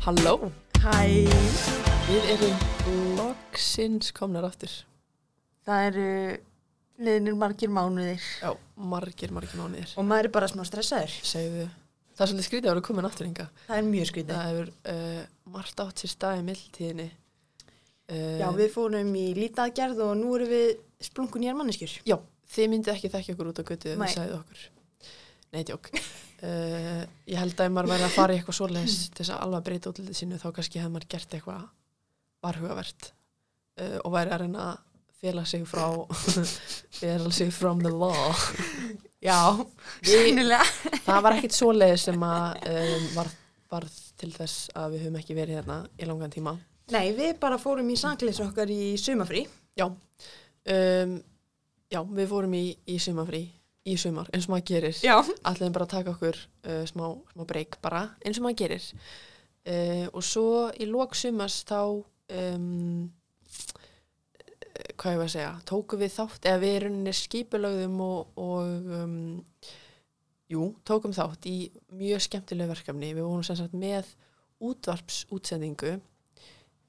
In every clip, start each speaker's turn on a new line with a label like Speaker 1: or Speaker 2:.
Speaker 1: Halló,
Speaker 2: Hæ,
Speaker 1: við erum loksins komnar aftur.
Speaker 2: það eru liðnir margir mánuðir
Speaker 1: Já, margir, margir mánuðir.
Speaker 2: og maður er bara smá stressaður.
Speaker 1: Segðu, það er svolítið skrítið að vera komin aftur hinga.
Speaker 2: Það er mjög skrítið.
Speaker 1: Það hefur uh, margt átt sér stað í mildtíðinni. Uh,
Speaker 2: Já, við fórum í lítaðgerð og nú erum við splunkun í ermanniskjur.
Speaker 1: Já, þið myndið ekki þekkja okkur út á götu ef
Speaker 2: Nei.
Speaker 1: þið sagðið okkur. Nei, tjók. Uh, ég held að ef maður væri að fara í eitthvað svoleiðis til þess að alveg breyta útlitið sínu þá kannski hefði maður gert eitthvað varhugavert uh, og væri að reyna að fela sig frá fela sig from the law
Speaker 2: Já, sýnilega.
Speaker 1: það var ekkit svoleiðis sem að um, varð, varð til þess að við höfum ekki verið hérna í langan tíma.
Speaker 2: Nei, við bara fórum í sangleysu okkar í sumafrí.
Speaker 1: Já, um, já við fórum í, í sumafrí, í sumar, eins og maður gerir.
Speaker 2: Já.
Speaker 1: Ætliðum bara að taka okkur uh, smá, smá breyk bara, eins og maður gerir. Uh, og svo í lok sumars þá, um, eh, hvað ég var að segja, tókum við þátt, eða við erum skipulögðum og, og um, Jú, tókum þátt í mjög skemmtilegu verkefni. Við vorum sem sagt með útvarpsútsendingu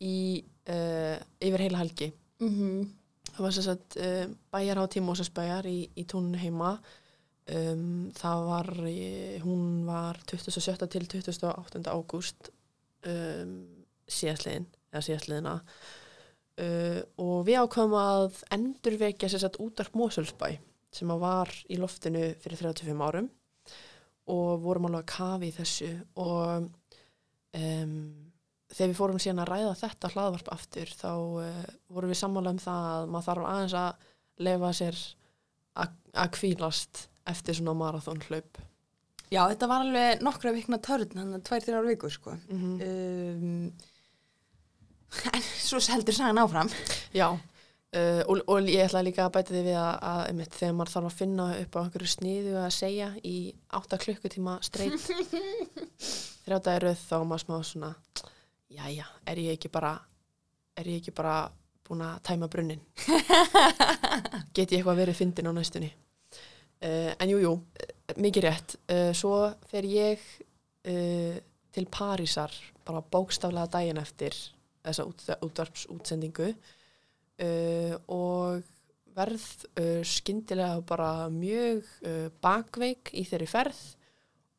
Speaker 1: í, uh, yfir heila helgi.
Speaker 2: Mm
Speaker 1: Það var sem sagt uh, bæjar á Tímósasbæjar í, í túninu heima. Um, það var, eh, hún var 27. til 28. ágúst um, síðastliðin, eða síðastliðina. Uh, og við ákvæmum að endurvekja sem sagt útarp Mósulsbæ sem að var í loftinu fyrir 35 árum og vorum alveg að kafi í þessu og um, þegar við fórum síðan að ræða þetta hlaðvarp aftur þá uh, vorum við sammála um það að maður þarf aðeins að lefa sér að að hvílast eftir svona marathon hlaup
Speaker 2: Já, þetta var alveg nokkra vikna törn, þannig að tvær, þrjár vikur, sko.
Speaker 1: -hmm.
Speaker 2: Um, en svo heldur sagan áfram.
Speaker 1: Já, uh, og, og ég ætla líka að bæta því við að, að einmitt, þegar maður þarf að finna upp á einhverju sniðu að segja í 8 klukkutíma streitt þrjá dagiröð þá er maður smá svona jæja, er ég ekki bara er ég ekki bara búin að tæma brunnin get ég eitthvað verið fyndin á næstunni uh, en jú, jú, eh, mikið rétt uh, svo fer ég uh, til Parísar bara bókstaflega daginn eftir þessa út, útvarpsútsendingu uh, og verð uh, skyndilega bara mjög uh, bakveik í þeirri ferð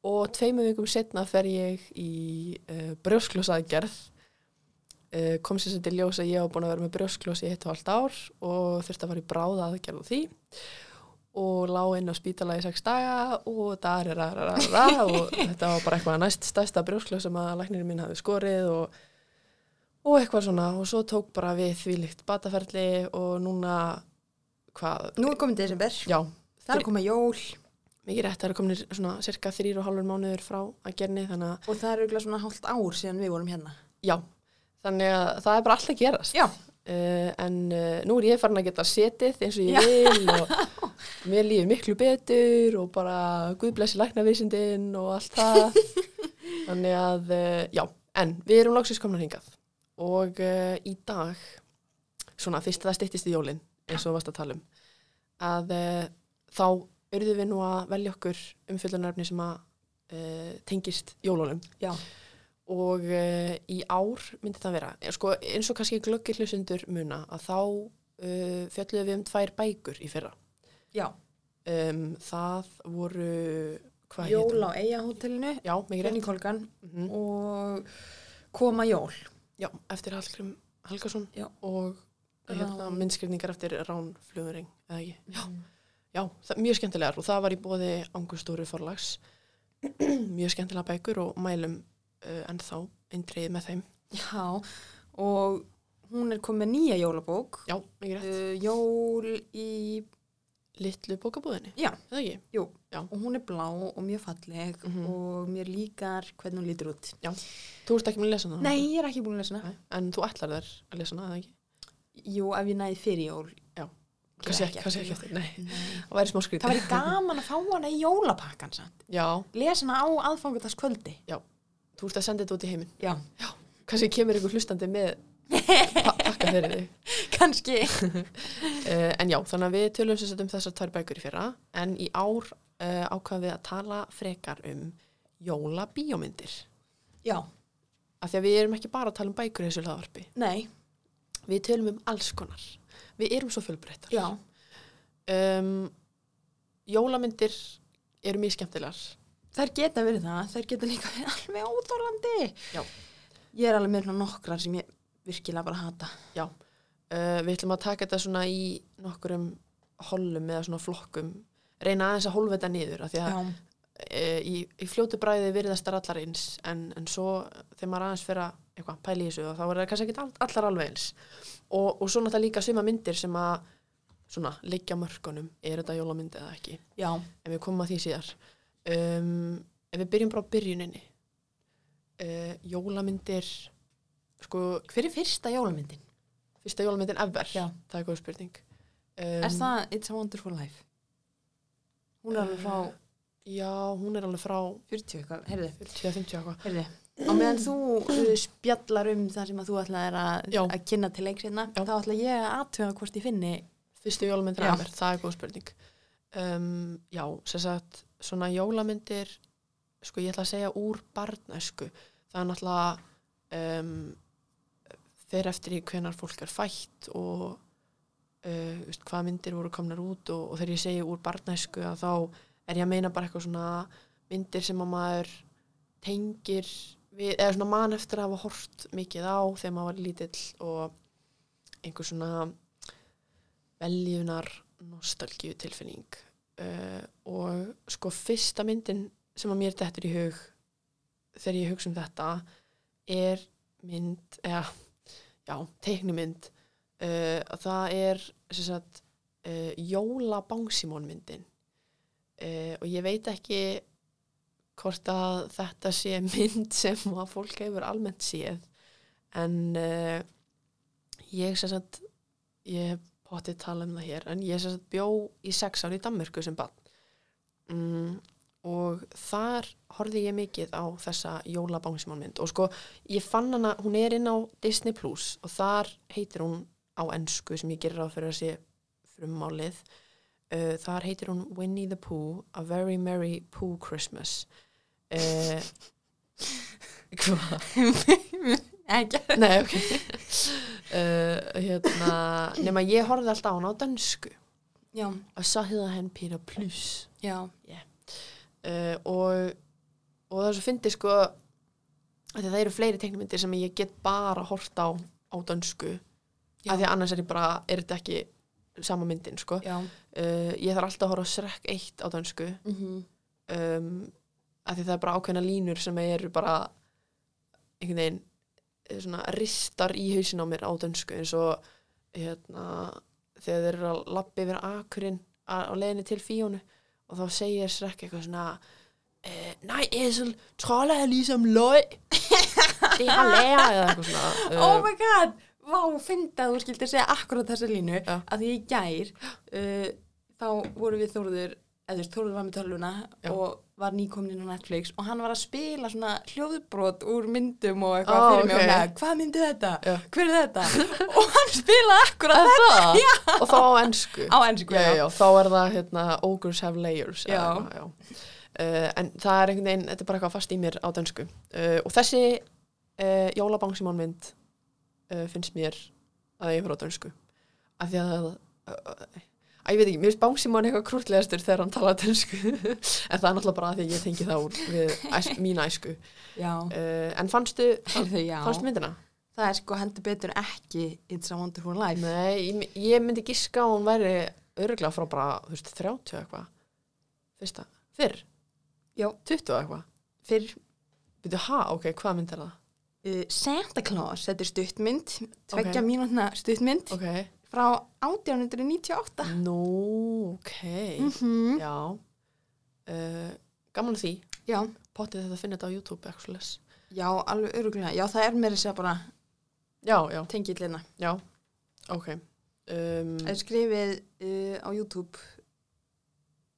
Speaker 1: og tveimur vikum setna fer ég í uh, brjósklosaðgerð uh, kom sér sér til ljós að ég var búin að vera með brjósklos í eitt og halvt ár og þurfti að fara í bráða aðgerð á því og lá inn á spítala í sex daga og darararara og þetta var bara eitthvað næst stærsta brjósklos sem að læknirinn minn hafi skorið og og eitthvað svona og svo tók bara við þvílíkt bataferli og núna hvað,
Speaker 2: Nú er komin desember,
Speaker 1: já,
Speaker 2: það er að koma jól
Speaker 1: mikið rétt það eru kominir svona cirka þrýr og hálfur mánuður frá að gerni þannig að,
Speaker 2: og það er auðvitað svona hálft ár síðan við vorum hérna.
Speaker 1: já þannig að það er bara allt að gerast
Speaker 2: Já.
Speaker 1: uh, en uh, nú er ég farin að geta setið eins og
Speaker 2: Já.
Speaker 1: ég vil og mér lífi miklu betur og bara guðblessi læknavísindin og allt það þannig að, uh, já, en við erum loksins komna hringað og uh, í dag svona fyrst það styttist í jólin eins og þú varst að tala um að uh, þá urðum við nú að velja okkur umfyllunaröfni sem að uh, tengist jólunum
Speaker 2: Já.
Speaker 1: og uh, í ár myndi það vera Eh, sko, eins og kannski glöggir hlusundur muna að þá uh, fjöldluðum við um tvær bækur í fyrra
Speaker 2: Já.
Speaker 1: um, það voru hvað
Speaker 2: jól
Speaker 1: heitir hún?
Speaker 2: á Eyjahótelinu,
Speaker 1: já, mikið rétt
Speaker 2: Renni Kolgan
Speaker 1: Mhm.
Speaker 2: og koma jól.
Speaker 1: já, eftir Hallgrim Helgason
Speaker 2: Já.
Speaker 1: og hérna,
Speaker 2: Rán.
Speaker 1: myndskrifningar eftir Rán Flugurinn eða ekki já, já það, mjög skemmtilegar og það var í bóði Angustóru forlags mjög skemmtilega bækur og mælum uh, ennþá eindreið með þeim
Speaker 2: Já. Og hún er komið nýja jólabók.
Speaker 1: já, mikið rétt,
Speaker 2: Uh, jól í,
Speaker 1: litlu bókabúðinni
Speaker 2: Já.
Speaker 1: eða ekki
Speaker 2: jú,
Speaker 1: Já.
Speaker 2: og hún er blá og mjög falleg
Speaker 1: Mhm.
Speaker 2: og mér líkar hvernig hún lítur út.
Speaker 1: Þú ert ekki með að lesa hana?
Speaker 2: Nei, ég er ekki búin að lesa hana.
Speaker 1: Nei, En þú ætlar þér að lesa hana, eða ekki?
Speaker 2: Jú, ef ég næði fyrir jól.
Speaker 1: Já.
Speaker 2: Gera
Speaker 1: Kanski ekki, kannski ekki
Speaker 2: jól.
Speaker 1: eftir, nei.
Speaker 2: Nei.
Speaker 1: Það væri smá
Speaker 2: Það
Speaker 1: skrítið.
Speaker 2: væri gaman að fá hana í jólapakkan samt.
Speaker 1: Já,
Speaker 2: Lesa hana á aðfangadagskvöldi.
Speaker 1: þú ert að senda þetta út í heiminn.
Speaker 2: Já.
Speaker 1: Kannski kemur ykkur hlustandi með pa pakka fyrir þig.
Speaker 2: Kanski.
Speaker 1: Uh, en já, þannig að við tölum sem sagt um þessar tvær bækur í fyrra, en í ár uh, ákvað við að tala frekar um jólabíómyndir.
Speaker 2: Já.
Speaker 1: af því að við erum ekki bara að tala um bækur í þessu laðvarpi
Speaker 2: Nei,
Speaker 1: við tölum um alls konar við erum svo fjölbreyttar
Speaker 2: já,
Speaker 1: um, jólamyndir eru mjög skemmtilegar
Speaker 2: þær geta verið það, þær geta líka verið alveg óþorlandi.
Speaker 1: Já.
Speaker 2: Ég er alveg með svona nokkrar sem ég virkilega bara hata.
Speaker 1: já, uh, við ætlum að taka þetta svona í nokkurum hollum eða svona flokkum reyna aðeins að hólfa þetta niður af því að
Speaker 2: Já,
Speaker 1: uh, í, í fljótu bræði virðastar allar eins en, en svo þegar maður aðeins fyrir að eitthvað, pæla í þessu og þá er það kannski ekki all, allar alveg eins og, og svo náttúrulega líka suma myndir sem að svona, liggja mörkunum, er þetta jólamynd eða ekki
Speaker 2: já,
Speaker 1: en við komum að því síðar um, ef við byrjum bara á byrjuninni uh, jólamyndir sko,
Speaker 2: hver er fyrsta jólamyndin? Um,
Speaker 1: fyrsta jólamyndin ever
Speaker 2: Já.
Speaker 1: það er góð spurning
Speaker 2: Er
Speaker 1: um,
Speaker 2: það It's a Wonderful Life? Hún er alveg frá
Speaker 1: já, hún er alveg frá
Speaker 2: 40 eitthvað, heyrðu,
Speaker 1: 40-50 eitthvað
Speaker 2: heyrðu. Á meðan þú uh, spjallar um það sem að þú ætlaðir að,
Speaker 1: Já.
Speaker 2: að kynna til leiks hérna,
Speaker 1: Já.
Speaker 2: þá ætla ég að aðtöga hvort ég finni.
Speaker 1: Fyrstu jólamyndir
Speaker 2: Já.
Speaker 1: ever, það er góð spurning. Um, já, sem sagt, svona jólamyndir, sko ég ætla að segja úr barnæsku. Það er náttúrulega um, fer eftir í hvenar fólk er fætt og uh, veist, hvað myndir voru komnar út og, og þegar ég segi úr barnæsku að þá er ég að meina bara eitthvað svona myndir sem að maður tengir við, eða svona mann eftir að hafa hort mikið á þegar maður var lítill og einhver svona veljunar nostalgíu tilfinning uh, og sko fyrsta myndin sem að mér dettur í hug þegar ég hugsa um þetta er mynd eða, já, teiknumynd uh, það er sem sagt uh, Jóla Bangsimón myndin uh, og ég veit ekki hvort að þetta sé mynd sem að fólk hefur almennt séð en uh, ég sem sagt ég hef pottið tala um það hér en ég sem sagt bjó í sex ár í Danmörku sem bann mm, og þar horfði ég mikið á þessa jólabánsmálmynd og sko ég fann hana, hún er inn á Disney Plus og þar heitir hún á ennsku sem ég gerir á fyrir að sé frummálið uh, þar heitir hún Winnie the Pooh A Very Merry Pooh Christmas uh, hvað?
Speaker 2: Ekki.
Speaker 1: Nei, ok. uh, hérna, nema ég horfði alltaf á hana á dansku
Speaker 2: Já,
Speaker 1: og svo hefða henn Píra Plus
Speaker 2: já,
Speaker 1: uh, og, og það er svo fyndi sko af því að það eru fleiri teknimyndir sem ég get bara hort á á dansku
Speaker 2: Já.
Speaker 1: af því að annars er ég bara, er þetta ekki sama myndin sko.
Speaker 2: já.
Speaker 1: Uh, ég þarf alltaf að horfa á Shrek 1 á dansku
Speaker 2: Mm -hmm.
Speaker 1: um, af því það er bara ákveðna línur sem eru bara einhvern veginn eh, svona ristar í hausin á mér á dönsku eins og hérna, þegar þeir eru að lappa yfir akurinn á á leiðinni til fíónu og þá segir Shrek eitthvað svona eh, Nei, Esel, tróla er lísam lög Det har læra eða eitthvað svona
Speaker 2: oh
Speaker 1: eh,
Speaker 2: my god, vá, fyndi að þú skildir segja akkurat þessa línu
Speaker 1: Já.
Speaker 2: að því ég gær uh, þá voru við Þórður eða þú veist, Þórður var með tölvuna
Speaker 1: Já.
Speaker 2: og var nýkominn á Netflix og hann var að spila svona hljóðbrot úr myndum og eitthvað
Speaker 1: Ó,
Speaker 2: fyrir mig
Speaker 1: ok.
Speaker 2: og hann að, hvað myndi þetta?
Speaker 1: Já.
Speaker 2: Hver er þetta? og hann spilaði akkurat
Speaker 1: Er
Speaker 2: þetta
Speaker 1: það? Og þá á ennsku
Speaker 2: á ennsku,
Speaker 1: já, já, já, þá er það hérna, ogres have layers eða
Speaker 2: Já.
Speaker 1: eitthvað, já. Uh, en það er einhvern veginn, þetta er bara eitthvað fast í mér á dönsku uh, og þessi uh, jólabangsimónmynd uh, finnst mér að ég fyrir á dönsku af því að uh, uh, að ég veit ekki, mér finnst bangsimón eitthvað krútlegastur þegar hann talaði dönsku en það er náttúrulega bara af því að ég tengi það úr við æs, mína æsku uh,
Speaker 2: já.
Speaker 1: en fannstu, fann,
Speaker 2: Heyrðu, já.
Speaker 1: fannstu myndina?
Speaker 2: það er sko heldur betur ekki It's a Wonderful Life
Speaker 1: Nei, ég, ég myndi giska að hún væri örgulega frá bara, þú veist, 30 eitthvað fyrsta, fyrr
Speaker 2: Já.
Speaker 1: 20 eitthvað,
Speaker 2: fyrir
Speaker 1: byrju, ha, ok, hvað mynd er það?
Speaker 2: uh, Santa Claus, þetta er stuttmynd
Speaker 1: Ok.
Speaker 2: tveggja okay. mínútna stuttmynd
Speaker 1: Ok,
Speaker 2: frá 1898
Speaker 1: nú, ok Mhm.
Speaker 2: -hmm.
Speaker 1: já uh, gaman að því,
Speaker 2: já,
Speaker 1: pottið þetta að finna þetta á YouTube actually.
Speaker 2: já, alveg öruglega já, það er meira sér bara
Speaker 1: já, já,
Speaker 2: tengillina
Speaker 1: já, ok um,
Speaker 2: það er skrifið uh, á YouTube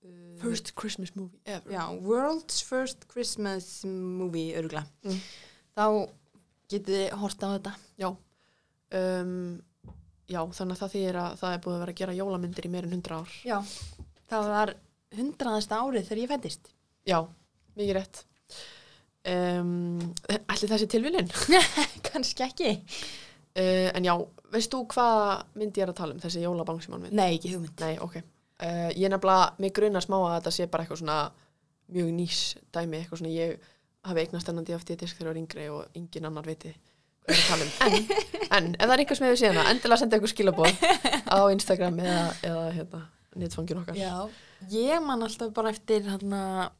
Speaker 2: uh,
Speaker 1: First Christmas movie ever
Speaker 2: já, World's First Christmas Movie öruglega
Speaker 1: Mm.
Speaker 2: þá getið þið horta á þetta
Speaker 1: um, já, þannig að það þýðir að það er búið að vera að gera jólamyndir í meir en 100 ár
Speaker 2: já, það var hundraðasta árið þegar ég fættist
Speaker 1: Já, mikið rétt um, Ætli ætli þessi tilvílin
Speaker 2: Kannski ekki.
Speaker 1: uh, en já, veist þú hvað myndi ég er að tala um þessi jólabang sem hann minn?
Speaker 2: Nei, ekki hugmynd.
Speaker 1: Nei, ok uh, ég nefnilega, mig grunar smá að þetta sé bara eitthvað svona mjög nýs dæmi eitthvað svona ég hafi eignast ennan DFT-disk þegar ég var yngri og engin annar viti hvað ég er að tala um en, en ef það er einhver sem hefur síðan endilega senda ykkur skilabóð á Instagram eða, eða hérna, netfangin okkar
Speaker 2: Já. Ég man alltaf bara eftir hérna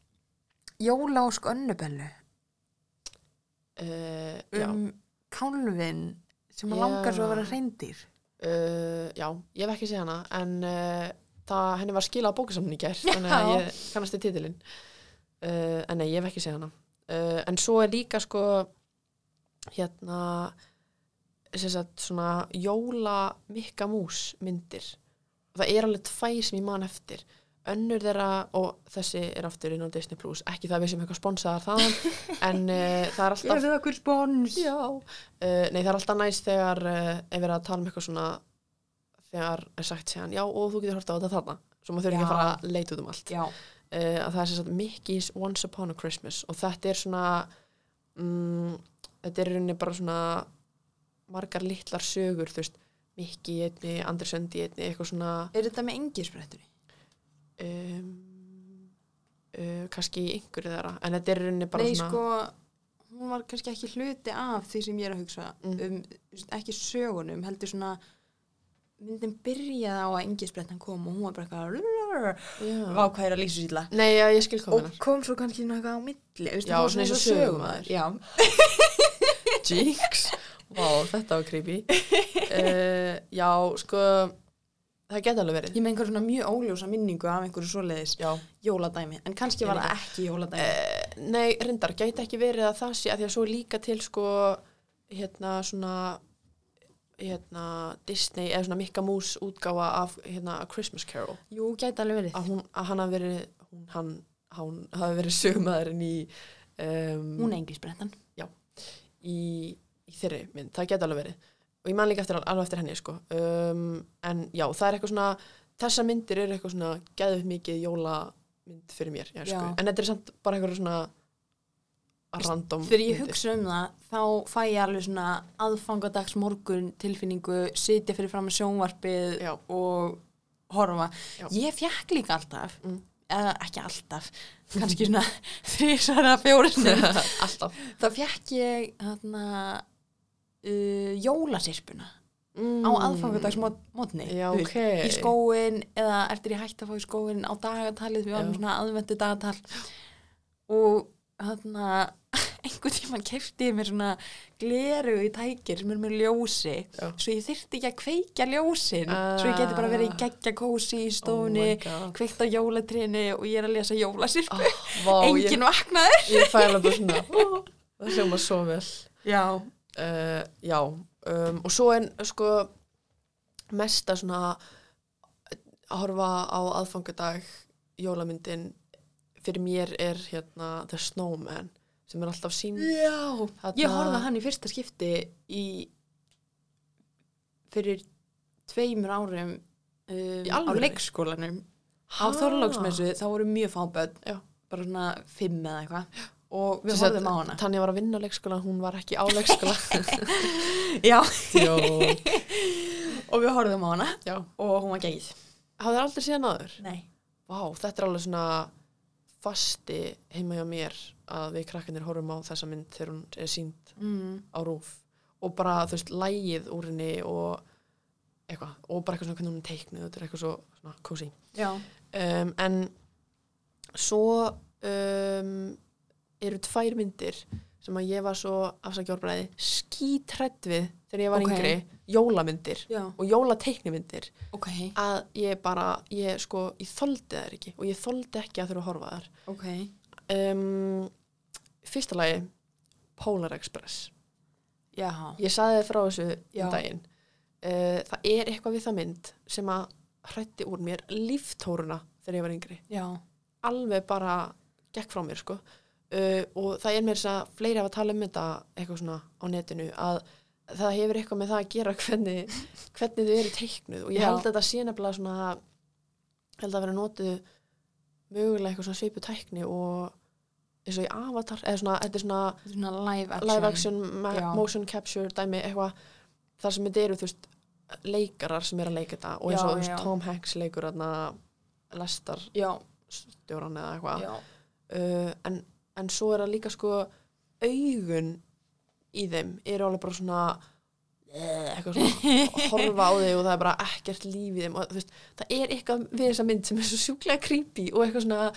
Speaker 2: Jóla og sko önnubellu
Speaker 1: Uh, já.
Speaker 2: um kálfin sem
Speaker 1: Já.
Speaker 2: já. langar svo að vera reyndir.
Speaker 1: Uh, já, ég hef ekki séð hana en uh, það, henni var skilað á bókasamni í gær þannig að
Speaker 2: Já.
Speaker 1: ég kannast þið titilinn uh, en nei, ég hef ekki séð hana uh, en svo er líka sko hérna sem sagt svona jóla mikka mús myndir það er alveg tvæ sem ég man eftir önnur þeirra og þessi er aftur inn á Disney Plus, ekki það við sem eitthvað sponsaðar þaðan, en uh, það er alltaf
Speaker 2: það okkur spons. Já.
Speaker 1: Já, uh, nei það er alltaf næst þegar uh, ef við erum að tala um eitthvað svona þegar er sagt séðan, já og þú getur hort á þetta þarna svo maður þurfi ekki að
Speaker 2: Já.
Speaker 1: fara að leita út um allt uh,
Speaker 2: Já.
Speaker 1: að það er sem sagt Mickey's Once Upon a Christmas og þetta er svona mm, þetta er í rauninni bara svona margar litlar sögur þú veist, Mickey í einni, Andri Söndi í einni eitthvað svona
Speaker 2: Er þetta með engisbrettunni?
Speaker 1: um, uh, kannski í einhverju þeirra en þetta er í rauninni bara
Speaker 2: Nei,
Speaker 1: svona
Speaker 2: sko, hún var kannski ekki hluti af því sem ég er að hugsa
Speaker 1: Mm.
Speaker 2: um, þú veist, ekki sögunum, heldur svona myndin byrjaði á að engisbrettan kom og hún var bara eitthvað
Speaker 1: já.
Speaker 2: Vá, hvað er að lýsa sýtla?
Speaker 1: Nei, já, ég skil
Speaker 2: Og
Speaker 1: kominar
Speaker 2: kom svo kannski inn á eitthvað á milli, veistu,
Speaker 1: Já,
Speaker 2: hún var
Speaker 1: svona eins og
Speaker 2: eins og
Speaker 1: sögumaður.
Speaker 2: Já,
Speaker 1: Jinx Vá, þetta var creepy uh, Já, sko Það geta alveg verið
Speaker 2: Ég með einhver svona mjög óljósa minningu af einhverju svoleiðis
Speaker 1: Já.
Speaker 2: jóladæmi, en kannski
Speaker 1: Ég
Speaker 2: var það ekki jóladæmi.
Speaker 1: Eh, Nei, reyndar, gæti ekki verið að það sé að því að svo er líka til sko hérna svona hérna Disney eða svona Mikka Mús útgáfa af hérna A Christmas Carol
Speaker 2: Jú, gæti alveg verið.
Speaker 1: að, hún, að hann hafi verið hún, hann, hann hafi verið sögmaðurinn í um,
Speaker 2: Hún er englis brettan.
Speaker 1: í, í þeirri mynd, það geta alveg verið og ég man líka eftir, alveg eftir henni sko. um, en já, það er eitthvað svona þessar myndir eru eitthvað svona geðuð mikið jólamynd fyrir mér já, sko.
Speaker 2: Já.
Speaker 1: en þetta er samt bara eitthvað svona random
Speaker 2: Þegar ég
Speaker 1: myndir.
Speaker 2: hugsa um það, þá fæ ég alveg svona aðfangadags morgun tilfinningu, sitja fyrir fram að sjónvarpið
Speaker 1: Já.
Speaker 2: og horfa.
Speaker 1: Já.
Speaker 2: Ég fekk líka alltaf,
Speaker 1: Mm.
Speaker 2: eða ekki alltaf, kannski svona þrísara fjórinu.
Speaker 1: alltaf
Speaker 2: þá fekk ég hérna uh, jólasirpuna
Speaker 1: mm.
Speaker 2: á aðfangadagsmotni
Speaker 1: Já, ok.
Speaker 2: í skóin eða eftir ég hætti að fá í skóin á dagatalið, við varum
Speaker 1: Já.
Speaker 2: svona aðvendu dagatal og þarna einhvern tímann kefti ég mér svona gleru í tækir sem er með ljósi
Speaker 1: Já.
Speaker 2: svo ég þyrfti ekki að kveikja ljósin svo ég geti bara verið í geggja kósi í stóni,
Speaker 1: Ah. oh my god.
Speaker 2: kveikt á jólatrinni og ég er að lesa jólasirpu
Speaker 1: Ah, vá,
Speaker 2: enginn vaknaður
Speaker 1: ég, ég fæla bara svona ó, það sjóma svo vel
Speaker 2: já,
Speaker 1: uh, já um, og svo en sko mesta svona að horfa á aðfangadag jólamyndin fyrir mér er hérna The Snowman sem er alltaf sín
Speaker 2: Já, ég
Speaker 1: Þarna-
Speaker 2: horfði á hann í fyrsta skipti í fyrir tveimur árum um,
Speaker 1: Í
Speaker 2: á
Speaker 1: alvöru?
Speaker 2: leikskólanum á Þorlóksmessu, þá voru mjög fáböð
Speaker 1: Já.
Speaker 2: bara svona fimm eða eitthvað og við
Speaker 1: Sem sagt,
Speaker 2: horfðum á hana
Speaker 1: Tanja var að vinna á leikskóla, hún var ekki á leikskóla
Speaker 2: Já,
Speaker 1: Jó,
Speaker 2: og við horfðum á hana
Speaker 1: já
Speaker 2: og hún var geið
Speaker 1: Hafði aldrei séð náður?
Speaker 2: Nei
Speaker 1: Vá, þetta er alveg svona fasti heima hjá mér að við krakkanir horfum á þessa mynd þegar hún er sínd
Speaker 2: mm.
Speaker 1: á rúf og bara, þú veist, lægið úr henni og eitthvað, og bara eitthvað svona hvernig hún er teiknuð, þetta er eitthvað svo svona kósi
Speaker 2: Já,
Speaker 1: um, en svo um, eru tvær myndir sem að ég var svo afsakja orðbræði skítrætt við þegar ég var
Speaker 2: Ok.
Speaker 1: yngri jólamyndir
Speaker 2: já,
Speaker 1: og jólateiknimyndir
Speaker 2: ok,
Speaker 1: að ég bara, ég sko, ég þoldi þær ekki og ég þoldi ekki að þurfa að horfa á þær
Speaker 2: ok
Speaker 1: um, fyrsta lagi Polar Express
Speaker 2: Já,
Speaker 1: Ég saði þið frá þessu
Speaker 2: Já.
Speaker 1: um daginn. Uh, það er eitthvað við það mynd sem að hrætti úr mér líftóruna þegar ég var yngri.
Speaker 2: já,
Speaker 1: Alveg bara gekk frá mér, sko. Uh, og það er mér þess að fleiri hafa talað um þetta eitthvað svona á netinu að það hefur eitthvað með það að gera hvernig, hvernig þau eru teiknuð og ég
Speaker 2: Já.
Speaker 1: held að þetta sé nefnilega svona held að vera notuð mögulega eitthvað svona svipu tækni og eins og í Avatar eða svona, þetta er svona
Speaker 2: Þetta er svona live action.
Speaker 1: live action, ma-
Speaker 2: Já.
Speaker 1: motion capture dæmi, eitthvað þar sem þetta eru, þú veist, leikarar sem eru að leika þetta og eins
Speaker 2: Já,
Speaker 1: og þú veist,
Speaker 2: já.
Speaker 1: Tom Hanks leikur þarna lestar
Speaker 2: Já,
Speaker 1: stjóran eða eitthvað
Speaker 2: já.
Speaker 1: uh, en, en svo er það líka sko augun í þeim eru alveg bara svona eh, eitthvað svona horfa á þau og það er bara ekkert líf í þeim og þú veist, það er eitthvað við þessa mynd sem er svo sjúklega creepy og eitthvað svona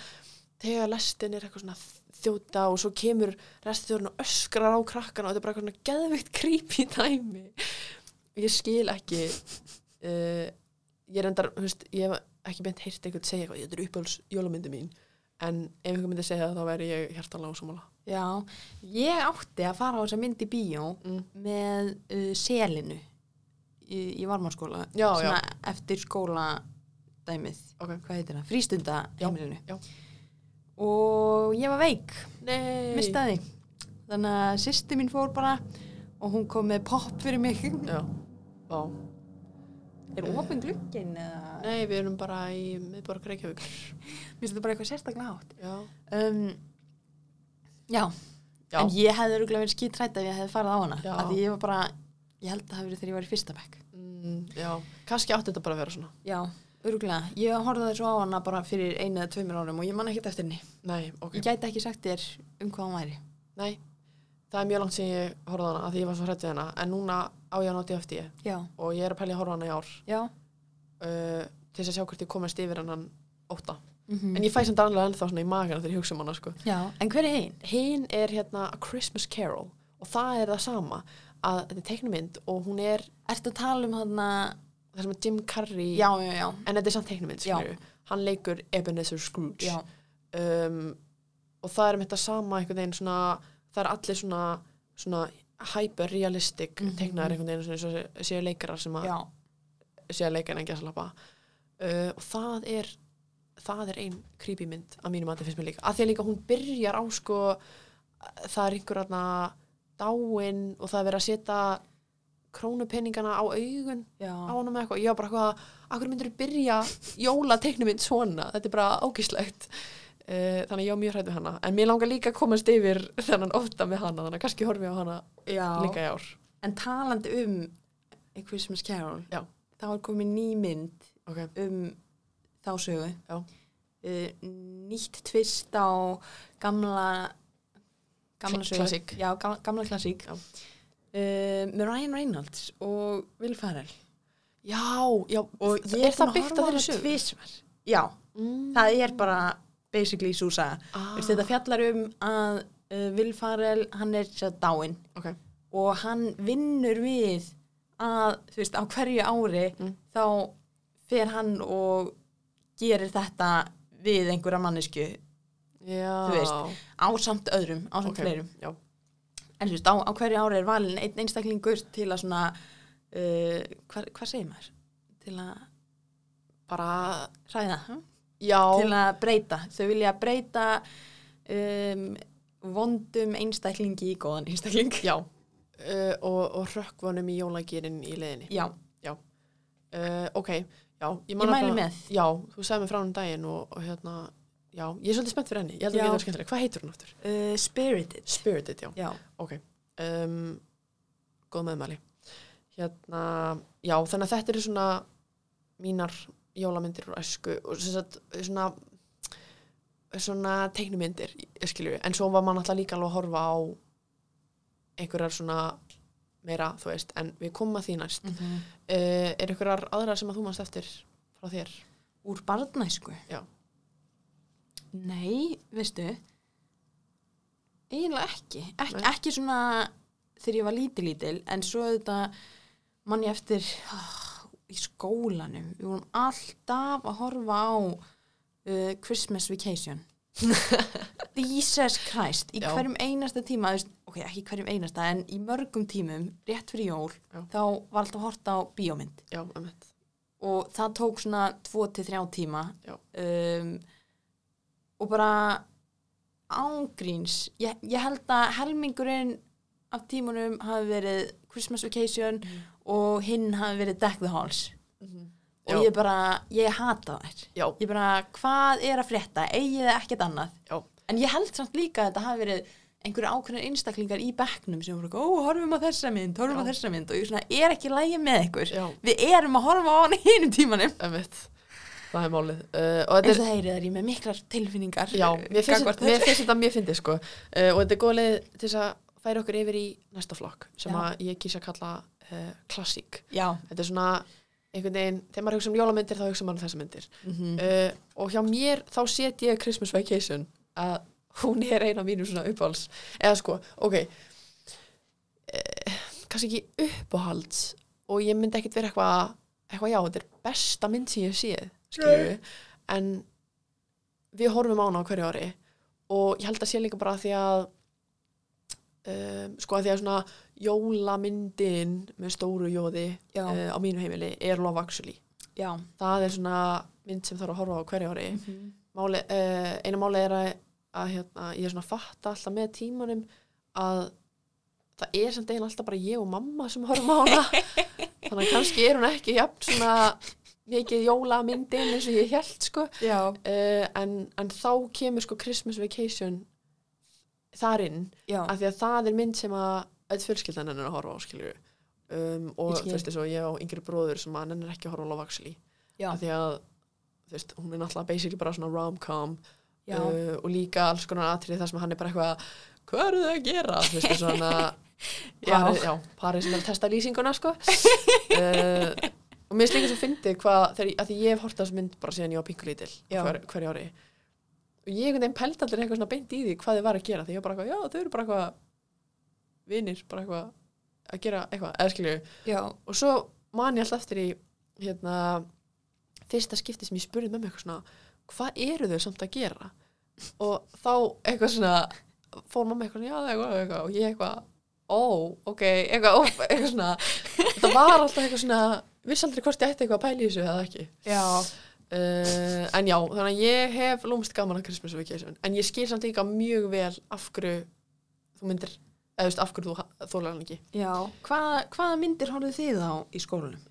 Speaker 1: þegar lestin er eitthvað svona þjóta og svo kemur reststjórn og öskrar á krakkana og þetta er bara eitthvað svona geðvikt creepy dæmi ég skil ekki uh, ég reyndar, þú veist, ég hef ekki beint heyrt eitthvað segja eitthvað, þetta er uppáhalds jólamyndi mín en ef einhver myndi segja það þá væri ég hjartalega ósámála
Speaker 2: Já, ég átti að fara á þessa mynd í bíó
Speaker 1: mm.
Speaker 2: með uh, selinu í, í varmaskóla.
Speaker 1: Já,
Speaker 2: svona eftir skóla dæmið.
Speaker 1: ok,
Speaker 2: Hvað heitir það? Frístunda heimilinu.
Speaker 1: já.
Speaker 2: Og ég var veik.
Speaker 1: nei
Speaker 2: mistaði þannig að sýsti mín fór bara og hún kom með popp fyrir mig
Speaker 1: já, vá
Speaker 2: er ofin glugginn eða
Speaker 1: nei, við erum bara í miðborg Reykjavík
Speaker 2: mér finnst þetta bara eitthvað sérstaklega átt
Speaker 1: já,
Speaker 2: um, já.
Speaker 1: já,
Speaker 2: en ég hefði örgulega verið skítrætt ef ég hefði farið á hana
Speaker 1: Já.
Speaker 2: af því ég var bara, ég held að það hafi verið þegar ég var í fyrsta bekk
Speaker 1: mm, já. kannski átti þetta bara að vera svona
Speaker 2: já, örgulega, ég horfði þessu á hana bara fyrir einu eða tveimur árum og ég man ekkert eftir henni
Speaker 1: nei, ok,
Speaker 2: ég gæti ekki sagt þér um hvað hún væri
Speaker 1: nei það er mjög langt sem ég horfði á hana að því ég var svo hrætt við hana en núna á ég hann á DFD
Speaker 2: já,
Speaker 1: og ég er að pæla í að horfa á hana í ár
Speaker 2: já
Speaker 1: uh, til þess að sjá hvort ég komast yfir en hann óta
Speaker 2: mm
Speaker 1: en ég fæ samt annarlega ennþá svona í magana þegar ég hugsa um hana sko.
Speaker 2: já, en hver er hinn?
Speaker 1: hinn er hérna A Christmas Carol og það er það sama að þetta er teiknumynd og hún er
Speaker 2: ertu að tala um hann
Speaker 1: það sem er Jim Carrey
Speaker 2: já, já, já,
Speaker 1: en þetta er samt teiknumynd
Speaker 2: Já.
Speaker 1: skilurðu. hann leikur Ebenezer Scrooge
Speaker 2: já,
Speaker 1: um, og það er með þetta sama einhvern veginn svona það er allir svona, svona hyperrealistic mm
Speaker 2: Mhm.
Speaker 1: -hmm. teiknaðar einhvern veginn svona eins og séu leikarar sem að
Speaker 2: já.
Speaker 1: séu að leika en ekki að slappa uh, og það er það er ein creepy mynd að mínum að þetta finnst mér líka að því að líka hún byrjar á sko það er einhver aðna dáin og það er verið að setja krónupenningana á augun
Speaker 2: já.
Speaker 1: á honum eða eitthvað, ég var bara eitthvað akkur myndur byrja jólateiknumind svona þetta er bara ágíslegt uh, þannig að ég var mjög hrætt við hana en mér langar líka að komast yfir þennan ofta með hana þannig að kannski horfi ég á hana
Speaker 2: Já,
Speaker 1: líka í ár
Speaker 2: en talandi um A Christmas Carol
Speaker 1: Já.
Speaker 2: þá er komið ný mynd
Speaker 1: ok,
Speaker 2: um þá sögu
Speaker 1: Já.
Speaker 2: Eh, nýtt tvist á gamla gamla
Speaker 1: Kla-
Speaker 2: sögu
Speaker 1: klassík.
Speaker 2: Já, gamla, gamla klassík
Speaker 1: Já.
Speaker 2: Eh, með Ryan Reynolds og Will Ferrell
Speaker 1: já, já
Speaker 2: og
Speaker 1: þ- er það byggt á þeirri sögu?
Speaker 2: tvisvar. Já,
Speaker 1: Mm.
Speaker 2: það er bara basically Súsa
Speaker 1: ah,
Speaker 2: ah. þetta fjallar um að uh, Will Ferrell hann er sér dáinn
Speaker 1: ok,
Speaker 2: og hann vinnur við að, þú veist, á hverju ári
Speaker 1: Mm.
Speaker 2: þá fer hann og gerir þetta við einhverja mannesku
Speaker 1: já
Speaker 2: Þú veist, á samt öðrum, á samt
Speaker 1: Ok,
Speaker 2: fleirum
Speaker 1: já.
Speaker 2: en þú veist, á, á hverju ári er valin einn einstaklingur til að svona uh, hvað, hvað segir maður? til að hm?
Speaker 1: bara,
Speaker 2: ræða
Speaker 1: já
Speaker 2: til að breyta, þau vilja breyta um, vondum einstaklingi í góðan einstakling
Speaker 1: já uh, og, og hrökkvunum í jólagýrin í leðinni
Speaker 2: já,
Speaker 1: uh, ok, já
Speaker 2: ég
Speaker 1: man
Speaker 2: mæli
Speaker 1: nefnilega-
Speaker 2: með
Speaker 1: Já, þú sagði mér frá hún um daginn og, og hérna, já, ég er svolítið spennt fyrir henni, ég held að
Speaker 2: Já.
Speaker 1: það getur skemmtileg. Hvað heitur hún aftur?
Speaker 2: uh, Spirited
Speaker 1: Spirited, já,
Speaker 2: já,
Speaker 1: ok. Um, góð meðmæli. Hérna, já, þannig að þetta eru svona mínar jólamyndir úr æsku og sem sagt, svona, svona teiknumyndir, ég skilju, en svo var mann alltaf líka alveg að horfa á einhverjar svona meira, þú veist, en við komum að því næst. Mm.
Speaker 2: Mhm.
Speaker 1: er einhverjar aðrar sem að þú manst eftir frá þér?
Speaker 2: Úr barnæsku?
Speaker 1: Já.
Speaker 2: Nei, veistu, eiginlega ekki. Ek,
Speaker 1: Nei.
Speaker 2: ekki svona þegar ég var lítil-lítil, en svo þetta mann ég eftir ah, í skólanum. Við vorum alltaf að horfa á uh, Christmas Vacation. Jesus Christ, í
Speaker 1: Já.
Speaker 2: hverjum einasta tíma, þú veist, ok, ekki í hverjum einasta, en í mörgum tímum, rétt fyrir jól,
Speaker 1: Já.
Speaker 2: þá var alltaf hort á bíómynd
Speaker 1: Já, emmett.
Speaker 2: og það tók svona 2-3 tíma
Speaker 1: Já.
Speaker 2: um, og bara ángríns ég, ég held að helmingurinn af tímunum hafi verið Christmas Vacation og hinn hafi verið Deck the Halls
Speaker 1: Mhm. Já.
Speaker 2: og ég bara, ég hata þær
Speaker 1: Já,
Speaker 2: ég bara, hvað er að frétta, eigið þið ekkert annað
Speaker 1: já.
Speaker 2: en ég held samt líka að þetta hafi verið einhverju ákveðnir einstaklingar í bekknum sem voru, ó, horfum á þessa mynd, horfum á
Speaker 1: Já.
Speaker 2: þessa mynd og ég svona, er ekki lægi með ykkur
Speaker 1: Já,
Speaker 2: við erum að horfa á hann í einu tímanum
Speaker 1: emitt. Það er málið. Uh, og þetta
Speaker 2: eins
Speaker 1: er,
Speaker 2: og heyrið er ég með miklar tilfinningar eh,
Speaker 1: já, mér finnst,
Speaker 2: gagnvart
Speaker 1: mér
Speaker 2: þessu.
Speaker 1: finnst þetta mjög fyndið, sko. Uh, og þetta er góð leið til þess að færa okkur yfir í næsta flokk, sem
Speaker 2: Já.
Speaker 1: að ég kýsa að kalla uh, klassík.
Speaker 2: já,
Speaker 1: Þetta er svona einhvern veginn, þegar maður hugsa um jólamyndir, þá hugsa maður um þessa myndir.
Speaker 2: mhm,
Speaker 1: Uh, og hjá mér þá set ég Christmas Vacation að hún er eina mínum svona uppáhalds eða sko, ok uh, kannski ekki uppáhalds og ég myndi ekkit vera eitthvað eitthvað já, þetta er besta mynd sem ég sé skilur við, en við horfum á hana á hverju ári og ég held að sé líka bara því að um, sko að því að svona jólamyndin með stóru jóði
Speaker 2: já,
Speaker 1: uh, á mínu heimili er Love Actually
Speaker 2: já
Speaker 1: það er svona mynd sem þarf að horfa á hverju ári
Speaker 2: mhm,
Speaker 1: máli, uh, eina máli er að, að hérna, ég er svona að fatta alltaf með tímanum að það er samt einn alltaf bara ég og mamma sem horfum á hana þannig að kannski er hún ekki jafn svona mikið jólamyndin eins og ég held sko
Speaker 2: já,
Speaker 1: uh, en, en þá kemur sko Christmas Vacation þar inn
Speaker 2: já
Speaker 1: af því að það er mynd sem að öll fjölskyldan hennar að horfa á skilur um, og
Speaker 2: Ég
Speaker 1: þú
Speaker 2: skil.
Speaker 1: veist þess að ég á yngri bróður sem að hennar ekki að horfa á Lovaxli
Speaker 2: Já.
Speaker 1: af því að þú veist, hún er náttúrulega basically bara svona rom-com
Speaker 2: já,
Speaker 1: uh, og líka alls konar atrið þar sem hann er bara eitthvað hvað eru þau að gera þú veist, svona
Speaker 2: Já.
Speaker 1: parið, já, parið sem er að testa lýsinguna sko. uh, og mér slikir svo fyndi hvað, þegar, að því ég hef hortast mynd bara síðan ég var pinkulítil
Speaker 2: Já.
Speaker 1: hver, hverju ári og ég einhvern veginn pældi allir eitthvað svona beint í því hvað þau var að gera því ég var bara eitthvað, já þau eru bara eitthvað vinir, bara eitthvað að gera eitthvað, eða skilju
Speaker 2: já,
Speaker 1: og svo man ég alltaf eftir í hérna, fyrsta skipti sem ég spurði með mig eitthvað svona, hvað eru þau samt að gera og þá eitthvað svona fór mamma eitthvað, svona, já það er eitthvað, eitthvað og ég eitthvað, ó, ok eitthvað, ó, eitthvað svona þetta var alltaf eitthvað svona, viss aldrei hvort ég ætti eitthvað að pæla í þessu eða ekki
Speaker 2: já
Speaker 1: uh, en já, þannig að ég hef lúmst gaman að Christmas Vacation en ég skil samt líka mjög vel af hverju þú myndir, eða þú veist, af hverju þú þólar hann ekki
Speaker 2: já, hvaða, hvaða myndir horfðu þið á í skólanum?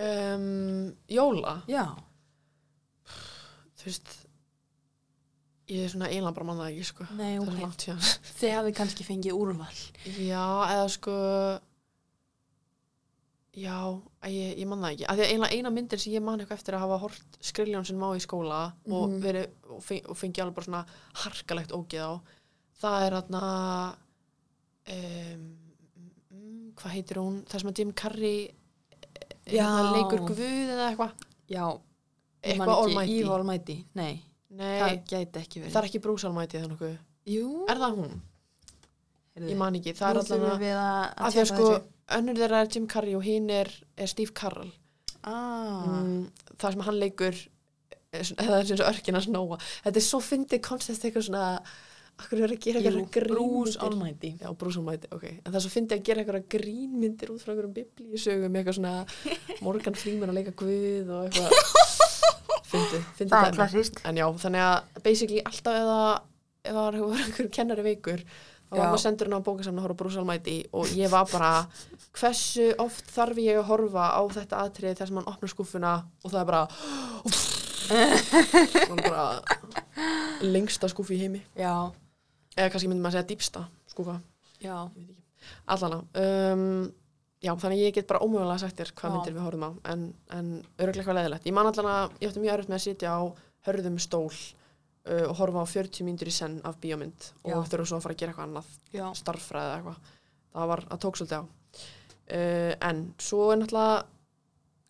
Speaker 1: um, Jóla
Speaker 2: já,
Speaker 1: þú veist ég er svona eiginlega bara manna ekki sko það
Speaker 2: nei,
Speaker 1: er
Speaker 2: ok
Speaker 1: svo langt síðan
Speaker 2: þið hafið kannski fengið úrval
Speaker 1: já, eða sko já, að ég, ég manna ekki af því að eiginlega eina myndir sem ég man eitthvað eftir að hafa hort skriljón sem má í skóla og,
Speaker 2: Mhm.
Speaker 1: verið, og, feng, og fengi alveg bara svona harkalegt ógeð á það er þarna um, mm, hvað heitir hún það sem að Jim Carrey eh,
Speaker 2: Já.
Speaker 1: hérna, leikur guð eða eitthvað
Speaker 2: já, ég man
Speaker 1: eitthvað
Speaker 2: ekki,
Speaker 1: allmæti
Speaker 2: Eve Almighty, nei, það
Speaker 1: nei,
Speaker 2: gæti ekki verið
Speaker 1: það er ekki Bruce Almighty eða nokkuð
Speaker 2: jú,
Speaker 1: Er það hún? Ég man ekki, það
Speaker 2: Nú
Speaker 1: er allan
Speaker 2: þurfum
Speaker 1: að
Speaker 2: við að, að
Speaker 1: því að
Speaker 2: tjekka
Speaker 1: sko,
Speaker 2: þessu.
Speaker 1: önnur þeirra er Jim Carrey og hinn er, er Steve Carell
Speaker 2: ah,
Speaker 1: mm, Það sem hann leikur eh, svona- eða þessi eins og örkina snóa Þetta er svo fyndið koncept eitthvað svona Akkur er að gera
Speaker 2: Jú,
Speaker 1: eitthvað
Speaker 2: Bruce
Speaker 1: grínmyndir
Speaker 2: Almighty
Speaker 1: Já, Bruce Almighty, ok En það er svo fyndið að gera eitthvað grínmyndir út frá einhverjum biblíusögum eitthvað svona Morgan Freeman að leika guð og eitthvað Fyndið, fyndið dæmi.
Speaker 2: klassist
Speaker 1: En já, þannig að basically alltaf eða ef það var einhver kennari veikur þá var
Speaker 2: Já.
Speaker 1: maður sendur hann á bókasamna að horfa brúsalmæti og ég var bara hversu oft þarf ég að horfa á þetta atrið þar sem hann opnar skúfuna og það er bara og bara lengsta skúfi í heimi
Speaker 2: Já,
Speaker 1: eða kannski myndi maður að segja dýpsta skúfa
Speaker 2: já,
Speaker 1: allana um, já, þannig að ég get bara ómögulega sagt þér hvað
Speaker 2: Já.
Speaker 1: myndir við horfum á en, en örglega hvað leðilegt ég man allan að ég átti mjög erfitt með að sitja á hörðum stól uh, og horfa á 40 myndir í senn af bíómynd
Speaker 2: Já.
Speaker 1: og þurfa svo að fara að gera eitthvað annað
Speaker 2: já
Speaker 1: starffræði eða eitthvað það var að tók svolítið á uh, en svo er náttúrulega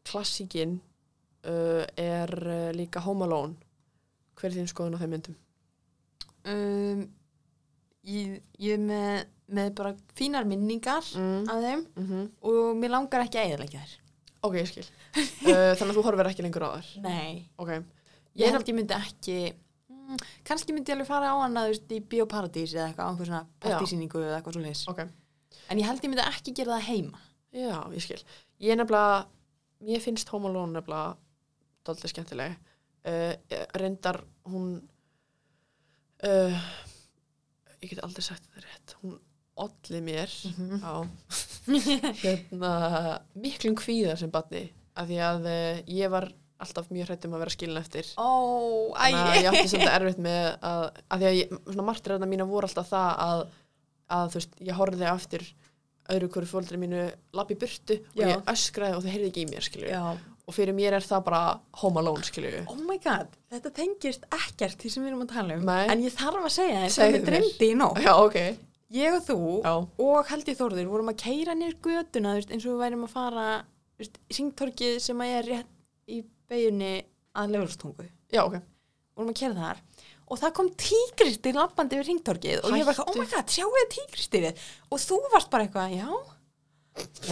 Speaker 1: klassíkin uh, er uh, líka Home Alone hver er þín skoðun á þeim myndum?
Speaker 2: um, Ég, ég er með, með bara fínar minningar
Speaker 1: Mm.
Speaker 2: af þeim
Speaker 1: Mm
Speaker 2: og mér langar ekki að eðalegja þær
Speaker 1: ok, ég skil uh, þannig að þú horfir ekki lengur á þær
Speaker 2: Nei,
Speaker 1: ok,
Speaker 2: ég,
Speaker 1: Ég er-
Speaker 2: held ég myndi ekki mm, kannski myndi ég alveg fara á hana þú veist, í bioparadís eða eitthvað, á einhver svona partísýningu eða eitthvað svo
Speaker 1: ok
Speaker 2: en ég held ég myndi ekki gera það heima
Speaker 1: Já, ég skil. Ég nefnilega, mér finnst Home Alone nefnilega doldið skemmtileg. Uh, reyndar hún, uh, ég get aldrei sagt þetta rétt, hún olli mér
Speaker 2: -hmm.
Speaker 1: á hérna, miklum kvíða sem batni. Af því að uh, ég var alltaf mjög hrætt um að vera skilin eftir
Speaker 2: Ó,
Speaker 1: þannig að ég
Speaker 2: æg
Speaker 1: átti svolítið erfitt með að, að því að ég, svona martröðna mína voru alltaf það að, að þú veist, ég horfði aftur öðru hverju fóldri mínu lapp í burtu og
Speaker 2: Já.
Speaker 1: ég öskraði og þau heyrði ekki í mér skilju
Speaker 2: Já,
Speaker 1: og fyrir mér er það bara home alone skilju
Speaker 2: oh my god, þetta tengist ekkert því sem við erum að tala um
Speaker 1: Nei.
Speaker 2: En ég þarf að segja
Speaker 1: Segðu
Speaker 2: þér sem við
Speaker 1: mér.
Speaker 2: dreyndi í nótt
Speaker 1: já ok
Speaker 2: Ég og þú
Speaker 1: Oh. já,
Speaker 2: og Haldi Þórður vorum að keira niður göduna þú veist, eins og við værim að fara þú veist, Hringtorkið sem að er rétt í beginni að Leifurustungu
Speaker 1: já ok
Speaker 2: vorum að kera þar og það kom tígristir lappandi yfir ringtorkið og ég var eitthvað, oh my god, sjáu þið tígristirið og þú varst bara eitthvað, já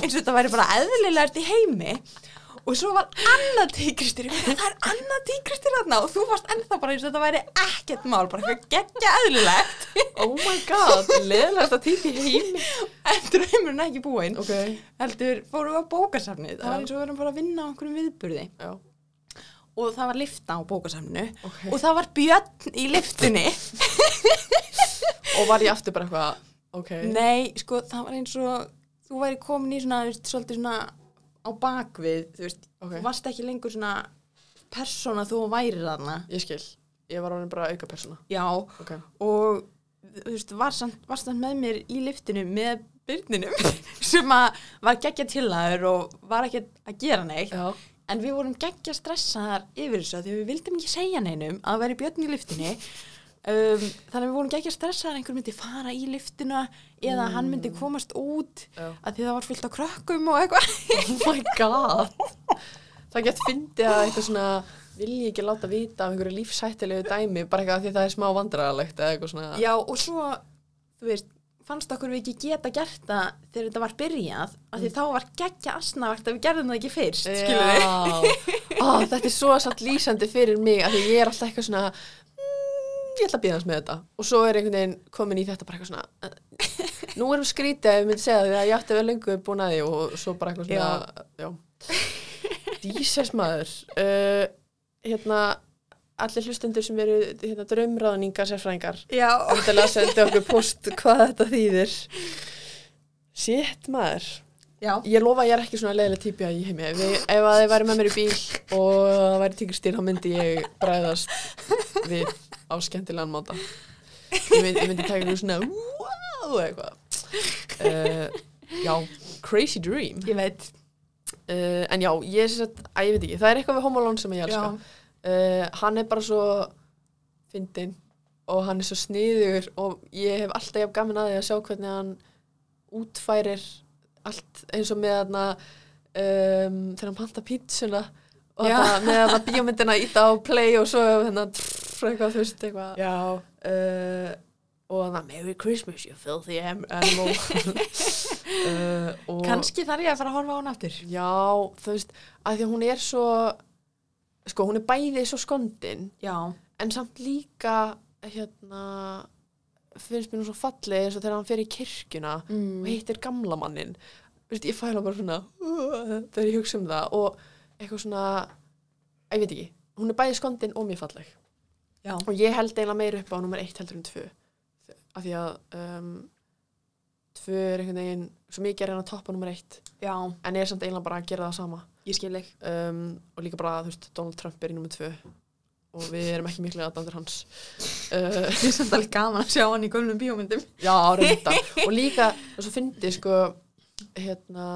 Speaker 2: eins og þetta væri bara eðlilegast í heimi og svo var annað tígristir það er annað tígristir þarna og þú varst ennþá bara eins og þetta væri ekkert mál bara eitthvað geggja eðlilegt
Speaker 1: oh my god, leðilegast að típi heimi
Speaker 2: en draumurinn ekki búinn
Speaker 1: ok,
Speaker 2: heldur fórum við á bókasafnið það
Speaker 1: Já.
Speaker 2: var eins og við varum bara að vinna á einhverjum viðburði
Speaker 1: já
Speaker 2: og það var lifta á bókasafninu
Speaker 1: ok
Speaker 2: og það var björn í liftinni
Speaker 1: og var ég aftur bara eitthvað ok,
Speaker 2: Nei, sko, það var eins og þú væri komin í svona, þú veist, svolítið svona á bakvið, þú veist,
Speaker 1: Ok.
Speaker 2: þú varst ekki lengur svona persóna þú væri þarna.
Speaker 1: ég skil ég var orðin bara auka persóna
Speaker 2: Já,
Speaker 1: ok,
Speaker 2: og þú veist, var samt, varst samt með mér í liftinu með byrninum sem að var geggja tillaður og var ekki að gera neitt.
Speaker 1: já,
Speaker 2: En við vorum geggja stressaðar yfir þessu af því við vildum ekki segja neinum að það væri björn í lyftinni. Um, þannig að við vorum geggja stressaðar að einhver myndi fara í lyftina eða hann myndi komast út
Speaker 1: já
Speaker 2: að því það var fullt af krökkum og eitthvað.
Speaker 1: Oh my god Það gett fyndið að eitthvað svona vilji ekki láta vita af einhverju lífshættilegu dæmi bara eitthvað af því það er smá vandræðalegt eða eitthvað svona
Speaker 2: Já, og svo, þú veist, fannst okkur við ekki geta gert það þegar þetta var byrjað, að því þá var geggja asnavert að við gerðum það ekki fyrst, skilur við.
Speaker 1: við Ó, Þetta er svo satt lýsandi fyrir mig af því ég er alltaf eitthvað svona "Mm, ég ætla að býða hans með þetta og svo er einhvern veginn komin í þetta bara eitthvað svona "Eh, Nú erum skrítið að ég myndi segja því að ég átti vel lengu búin að því og svo bara eitthvað svona Já, Dísers maður uh, Hérna allir hlustendur sem eru hérna, draumráðningar sérfræðingar
Speaker 2: Já,
Speaker 1: endilega sendi okkur post hvað þetta þýðir Sitt maður
Speaker 2: já,
Speaker 1: Ég lofa að ég er ekki svona leiðileg típja í heimi Ef, ég, ef að þið væri með mér í bíl og það væri tíkristýr þá myndi ég bræðast við á skemmtilegan máta Ég myndi, ég myndi taka ykkur svona wow eitthvað uh, Já, crazy dream
Speaker 2: ég veit.
Speaker 1: uh, En já, ég er sett, að ég veit ekki Það er eitthvað við Home Alone sem ég elska uh, hann er bara svo fyndinn og hann er svo sniður og ég hef alltaf jafn gaman að því að sjá hvernig hann útfærir allt eins og með hann um, þegar hann panta pítsuna og
Speaker 2: Já.
Speaker 1: þetta með hann bíómyndina íta á play og svo hennan eitthvað, þú veist, eitthvað
Speaker 2: Já,
Speaker 1: uh, og hann að Merry Christmas, you filthy am- animal uh, og
Speaker 2: kannski þarf ég að fara að horfa á hann aftur.
Speaker 1: já, þú veist, að því að hún er svo sko, hún er bæði svo skondin
Speaker 2: Já,
Speaker 1: en samt líka hérna finnst mér nú svo fallið eins og þegar hann fer í kirkjuna og
Speaker 2: mm.
Speaker 1: hittir gamla mannin Vist, ég fæla bara svona uh, þegar ég hugsa um það og eitthvað svona Æ, ég veit ekki, hún er bæði skondin og mjög falleg
Speaker 2: já.
Speaker 1: og ég held eiginlega meir upp á nummer eitt heldur en tvö af því að um, tvö er einhvern veginn svo mikið er hann að toppa nummer eitt
Speaker 2: Já,
Speaker 1: en ég er samt eiginlega bara að gera það sama
Speaker 2: ég skil ekki.
Speaker 1: um, og líka bara, þú veist, Donald Trump er í nummer tvö og við erum ekki miklu aðdandur hans uh,
Speaker 2: Ég er samt alveg gaman að sjá hann í gömlum bíómyndum.
Speaker 1: já, reynda og líka, og svo fyndi sko, hérna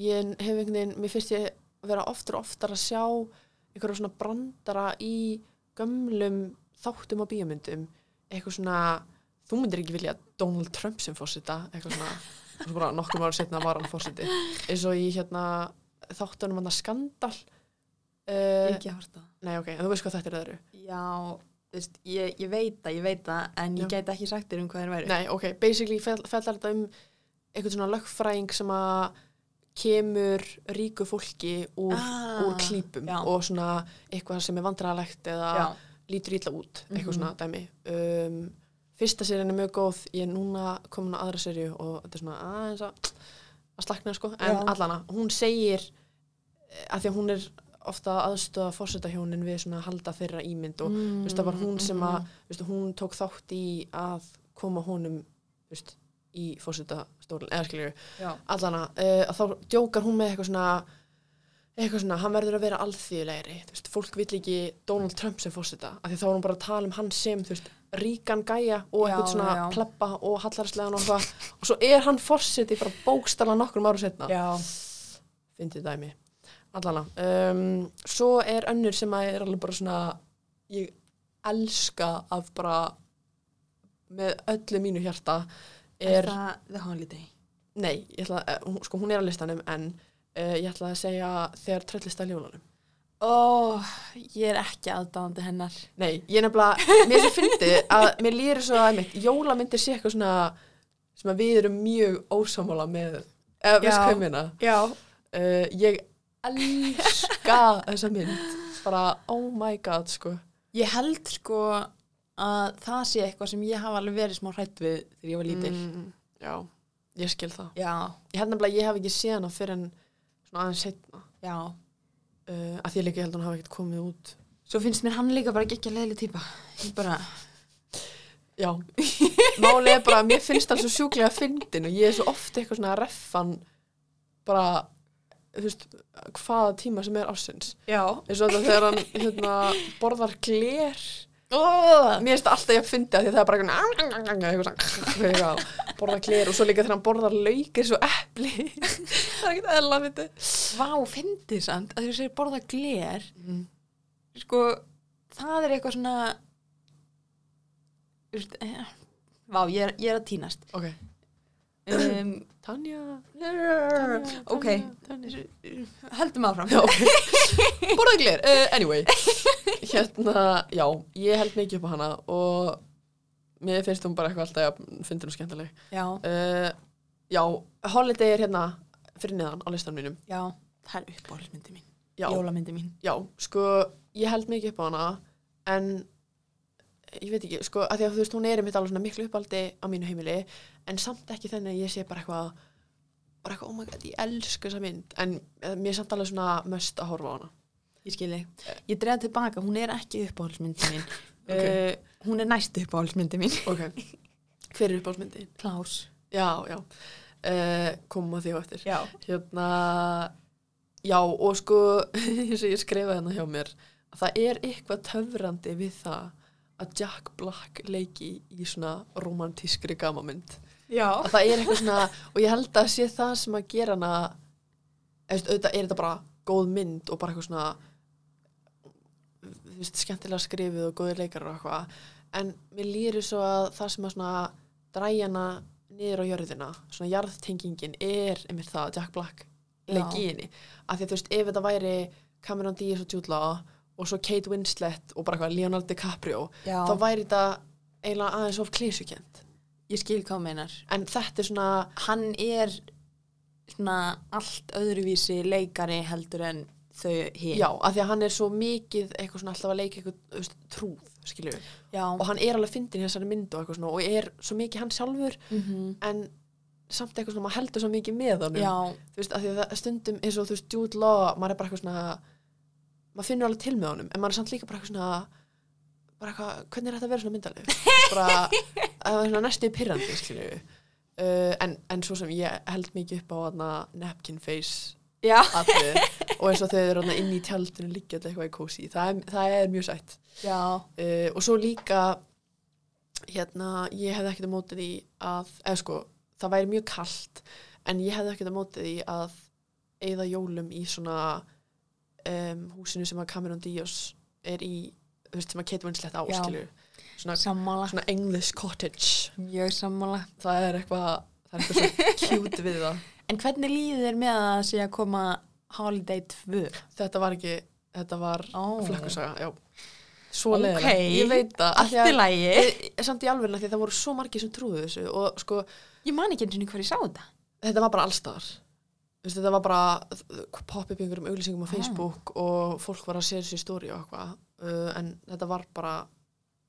Speaker 1: ég hef einhvern veginn, mér finnst ég vera oftar og oftar að sjá einhverja svona brandara í gömlum þáttum á bíómyndum eitthvað svona, þú myndir ekki vilja Donald Trump sem fórseta eitthvað svona, og svo bara nokkrum ára setna var hann fórseti eins og í hérna þáttunum hann að skandal
Speaker 2: Ég
Speaker 1: uh,
Speaker 2: hef ekki að horta.
Speaker 1: Nei, ok, en þú veist hvað þetta er öðru
Speaker 2: Já, þú veist, ég, ég veit það, ég veit það, en
Speaker 1: Já.
Speaker 2: ég gæti ekki sagt þér um hvað þeir væri.
Speaker 1: Nei, ok, basically fell- fellar þetta um eitthvað svona lögfræðing sem að kemur ríku fólki úr,
Speaker 2: Ah,
Speaker 1: úr klípum
Speaker 2: já.
Speaker 1: og svona eitthvað sem er vandræðalegt eða
Speaker 2: Já,
Speaker 1: lítur ítla út, eitthvað
Speaker 2: Mhm.
Speaker 1: svona dæmi um, Fyrsta serían er mjög góð ég er núna komin á aðra seríu og þetta er svona aðeins að, að slakna sko, en
Speaker 2: Já.
Speaker 1: allana, hún segir að því að hún er ofta aðstöða fórsetahjónin við svona að halda þeirra ímynd og
Speaker 2: mm,
Speaker 1: veist, það var hún sem að-
Speaker 2: mhm.
Speaker 1: Vistu, hún tók þátt í að koma honum viðst, í fórseta stólinn, eða skilju
Speaker 2: Já,
Speaker 1: eh, allana, uh, að þá djókar hún með eitthvað svona eitthvað svona, hann verður að vera alþýðlegri þú veist, fólk vill ekki Donald Trump sem fórseta, af því þá er hún bara að tala um hann sem, þú veist, ríkan gæja og
Speaker 2: Já,
Speaker 1: eitthvað svona
Speaker 2: já.
Speaker 1: pleppa og hallarslegan og eitthvað, og svo er hann fórseti bara bókstala nokkrum árum setna
Speaker 2: Já.
Speaker 1: fyndið dæmi allana, um, svo er önnur sem að er alveg bara svona ég elska af bara með öllu mínu hjarta er,
Speaker 2: Er, það The Holiday?
Speaker 1: nei, ég ætla að, eh, hún- sko hún er á listanum en uh, ég ætla að segja þegar tröllista ljólanum
Speaker 2: Ó, ég er ekki aðdáðandi hennar.
Speaker 1: Nei, ég nefnilega, mér sem fyndi að mér lýri svo að mitt, jólamyndir sé eitthvað svona sem að við erum mjög ósámála með, eða veist
Speaker 2: Já.
Speaker 1: hvað ég meina
Speaker 2: Já.
Speaker 1: uh, ég elska þessa mynd bara oh my god sko
Speaker 2: Ég held sko að það sé eitthvað sem ég hafa alveg verið smá hrætt við þegar ég var lítil.
Speaker 1: mm, Já, ég skil það
Speaker 2: Já,
Speaker 1: Ég held nefnilega að ég hef ekki séð hana fyrir en svona aðeins setna
Speaker 2: já.
Speaker 1: uh, að því líka ég held að hún hafi ekkert komið út
Speaker 2: Svo finnst mér hann líka bara ekki að leiðileg típa. Ég bara,
Speaker 1: Já, málið er bara að mér finnst það svo sjúklega fyndin og ég er svo oft eitthvað svona að reffan bara, þú veist, hvaða tíma sem er ásins.
Speaker 2: já.
Speaker 1: Eins og þetta þegar hann hérna, borðar gler,
Speaker 2: Ó,
Speaker 1: mér finnst það alltaf ég að fyndi að því að það er bara eitthvað, eitthvað, svona, eitthvað borðar glér og svo líka þegar hann borðar lauk eins og epli. það er ekkert eðla fyndi.
Speaker 2: vá, fyndið samt að þú segir borða gler. Sko, það er eitthvað svona, þú veist, eh, vá, ég er, ég er að týnast.
Speaker 1: Ok,
Speaker 2: Um,
Speaker 1: Tanja,
Speaker 2: ok,
Speaker 1: Tanja.
Speaker 2: höldum áfram.
Speaker 1: Já, ok. Borðað gler, uh, anyway Hérna, já, ég held mikið upp á hana og mér finnst hún bara eitthvað alltaf að finnst hún skemmtileg
Speaker 2: Já,
Speaker 1: uh, Já, Holiday er hérna fyrir neðan á listan mínum
Speaker 2: já, það er uppbólismyndi mín.
Speaker 1: Já,
Speaker 2: Jólamyndi mín.
Speaker 1: já, sko, ég held mikið upp á hana en ég veit ekki, sko, að því að þú veist hún er einmitt alveg svona miklu uppaldi á mínu heimili en samt ekki þannig að ég sé bara eitthvað bara eitthvað, oh my god, ég elsku þessa mynd en eh, mér er samt alveg svona möst að horfa á hana
Speaker 2: Ég skilji. Ég dreða tilbaka, hún er ekki uppáhaldsmyndi mín.
Speaker 1: Ok.
Speaker 2: uh, hún er næstu uppáhaldsmyndi mín.
Speaker 1: Eh, Ok, hver er uppáhaldsmyndin?
Speaker 2: Klaus.
Speaker 1: Já, já, uh, komum að því á eftir.
Speaker 2: Já.
Speaker 1: Hérna, já og sko, eins og ég skrifaði hérna hjá mér, að það er eitthvað töfrandi við það að Jack Black leiki í svona romantískri gamamynd.
Speaker 2: Já.
Speaker 1: Að það er eitthvað svona, og ég held að sé það sem að gera hana, eftir, auðvitað er þetta bara góð mynd og bara eitthvað svona, þú veist, skemmtilega skrifið og góðir leikarar og eitthvað, en mér lýri svo að það sem að svona dræjana niður á jörðina, svona jarðtengingin er einmitt það að Jack Black leik í henni, af því að þú veist, ef þetta væri Cameron Diaz og Jude Law og svo Kate Winslet og bara eitthvað Leonardo DiCaprio,
Speaker 2: Já.
Speaker 1: þá væri þetta eiginlega aðeins of klísukent
Speaker 2: Ég skil hvað hún meinar.
Speaker 1: en þetta er svona,
Speaker 2: Hann er svona allt öðruvísi leikari heldur en þau hér.
Speaker 1: já, af því að hann er svo mikið eitthvað svona alltaf að leika eitthvað þú veist, trúð, skilju,
Speaker 2: Já.
Speaker 1: og hann er alveg fyndin í þessari mynd og eitthvað svona, og er svo mikið hann sjálfur
Speaker 2: Mhm.
Speaker 1: en samt eitthvað svona, maður heldur svo mikið með honum
Speaker 2: Já.
Speaker 1: þú veist, af því að það stundum eins og þú veist, Jude Law, maður er bara eitthvað svona maður finnur alveg til með honum en maður er samt líka bara eitthvað svona bara eitthvað, hvernig er þetta að vera svona myndalegu bara, það er svona næstu pyrrandi skilju uh, en, en svo sem ég held mikið upp á hana, napkin face
Speaker 2: Já.
Speaker 1: atrið, og eins og þau eru hana, inn í tjaldinu líka eitthvað í kósi, það er, það er mjög sætt
Speaker 2: Já.
Speaker 1: uh, og svo líka hérna, ég hefði ekkert að móti því að, eða sko, það væri mjög kalt en ég hefði ekkert að móti því að eigða jólum í svona um, húsinu sem að Cameron Diaz er í, þú veist, sem að Kate Winslet á,
Speaker 2: Já.
Speaker 1: skilur svona,
Speaker 2: Sammála.
Speaker 1: svona English cottage
Speaker 2: Mjög sammála.
Speaker 1: það er eitthvað, það er eitthvað svo cute við það
Speaker 2: En hvernig líður þér með að sé að koma Holiday 2?
Speaker 1: þetta var ekki, þetta var
Speaker 2: Ó.
Speaker 1: flökkusaga, já svo
Speaker 2: Ókei.
Speaker 1: leiðilega, ég veit það af því
Speaker 2: Allt í
Speaker 1: að-
Speaker 2: lagi.
Speaker 1: samt í alvegna því að það voru svo margir sem trúðu þessu og sko,
Speaker 2: Ég man ekki eins og hvað ég sá þetta.
Speaker 1: þetta var bara allstar Vist, þetta var bara pop-up í einhverjum auglýsingum
Speaker 2: Ah.
Speaker 1: á Facebook og fólk var að segja þessu í stóri og eitthvað uh, en þetta var bara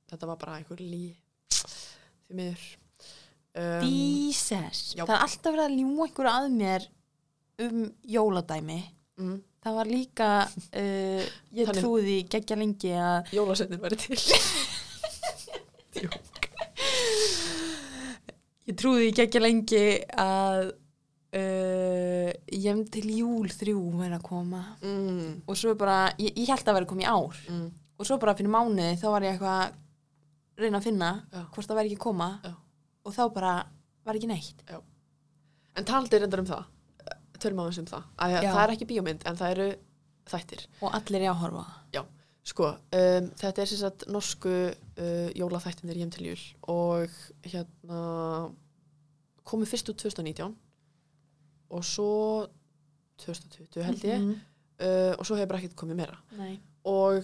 Speaker 1: þetta var bara einhver lí því miður um,
Speaker 2: Jesus,
Speaker 1: já.
Speaker 2: það er alltaf verið að ljúa einhverju að mér um jóladæmi
Speaker 1: mm,
Speaker 2: það var líka uh, ég
Speaker 1: Þannig-
Speaker 2: trúði geggja lengi að
Speaker 1: Jólasennin væri til
Speaker 2: ég trúði geggja lengi að uh, Jem til júl þrjú er að koma
Speaker 1: mm,
Speaker 2: og svo bara, ég, ég held að vera komið í ár
Speaker 1: mm.
Speaker 2: og svo bara fyrir mánuði þá var ég eitthvað að reyna að finna
Speaker 1: Já.
Speaker 2: hvort það væri ekki að koma
Speaker 1: Já.
Speaker 2: og þá bara var ekki neitt
Speaker 1: En taldi reyndar um það, eh, tölum aðeins um það. Að
Speaker 2: Já.
Speaker 1: það er ekki bíómynd en það eru þættir.
Speaker 2: og allir er áhorfa
Speaker 1: Sko, um, þetta er sem sagt norsku uh, jólaþættinir hjem til jól og hérna komið fyrst út 2019 og svo 2020 held ég
Speaker 2: mm
Speaker 1: uh, og svo hefur bara ekkert komið meira
Speaker 2: -hmm.
Speaker 1: og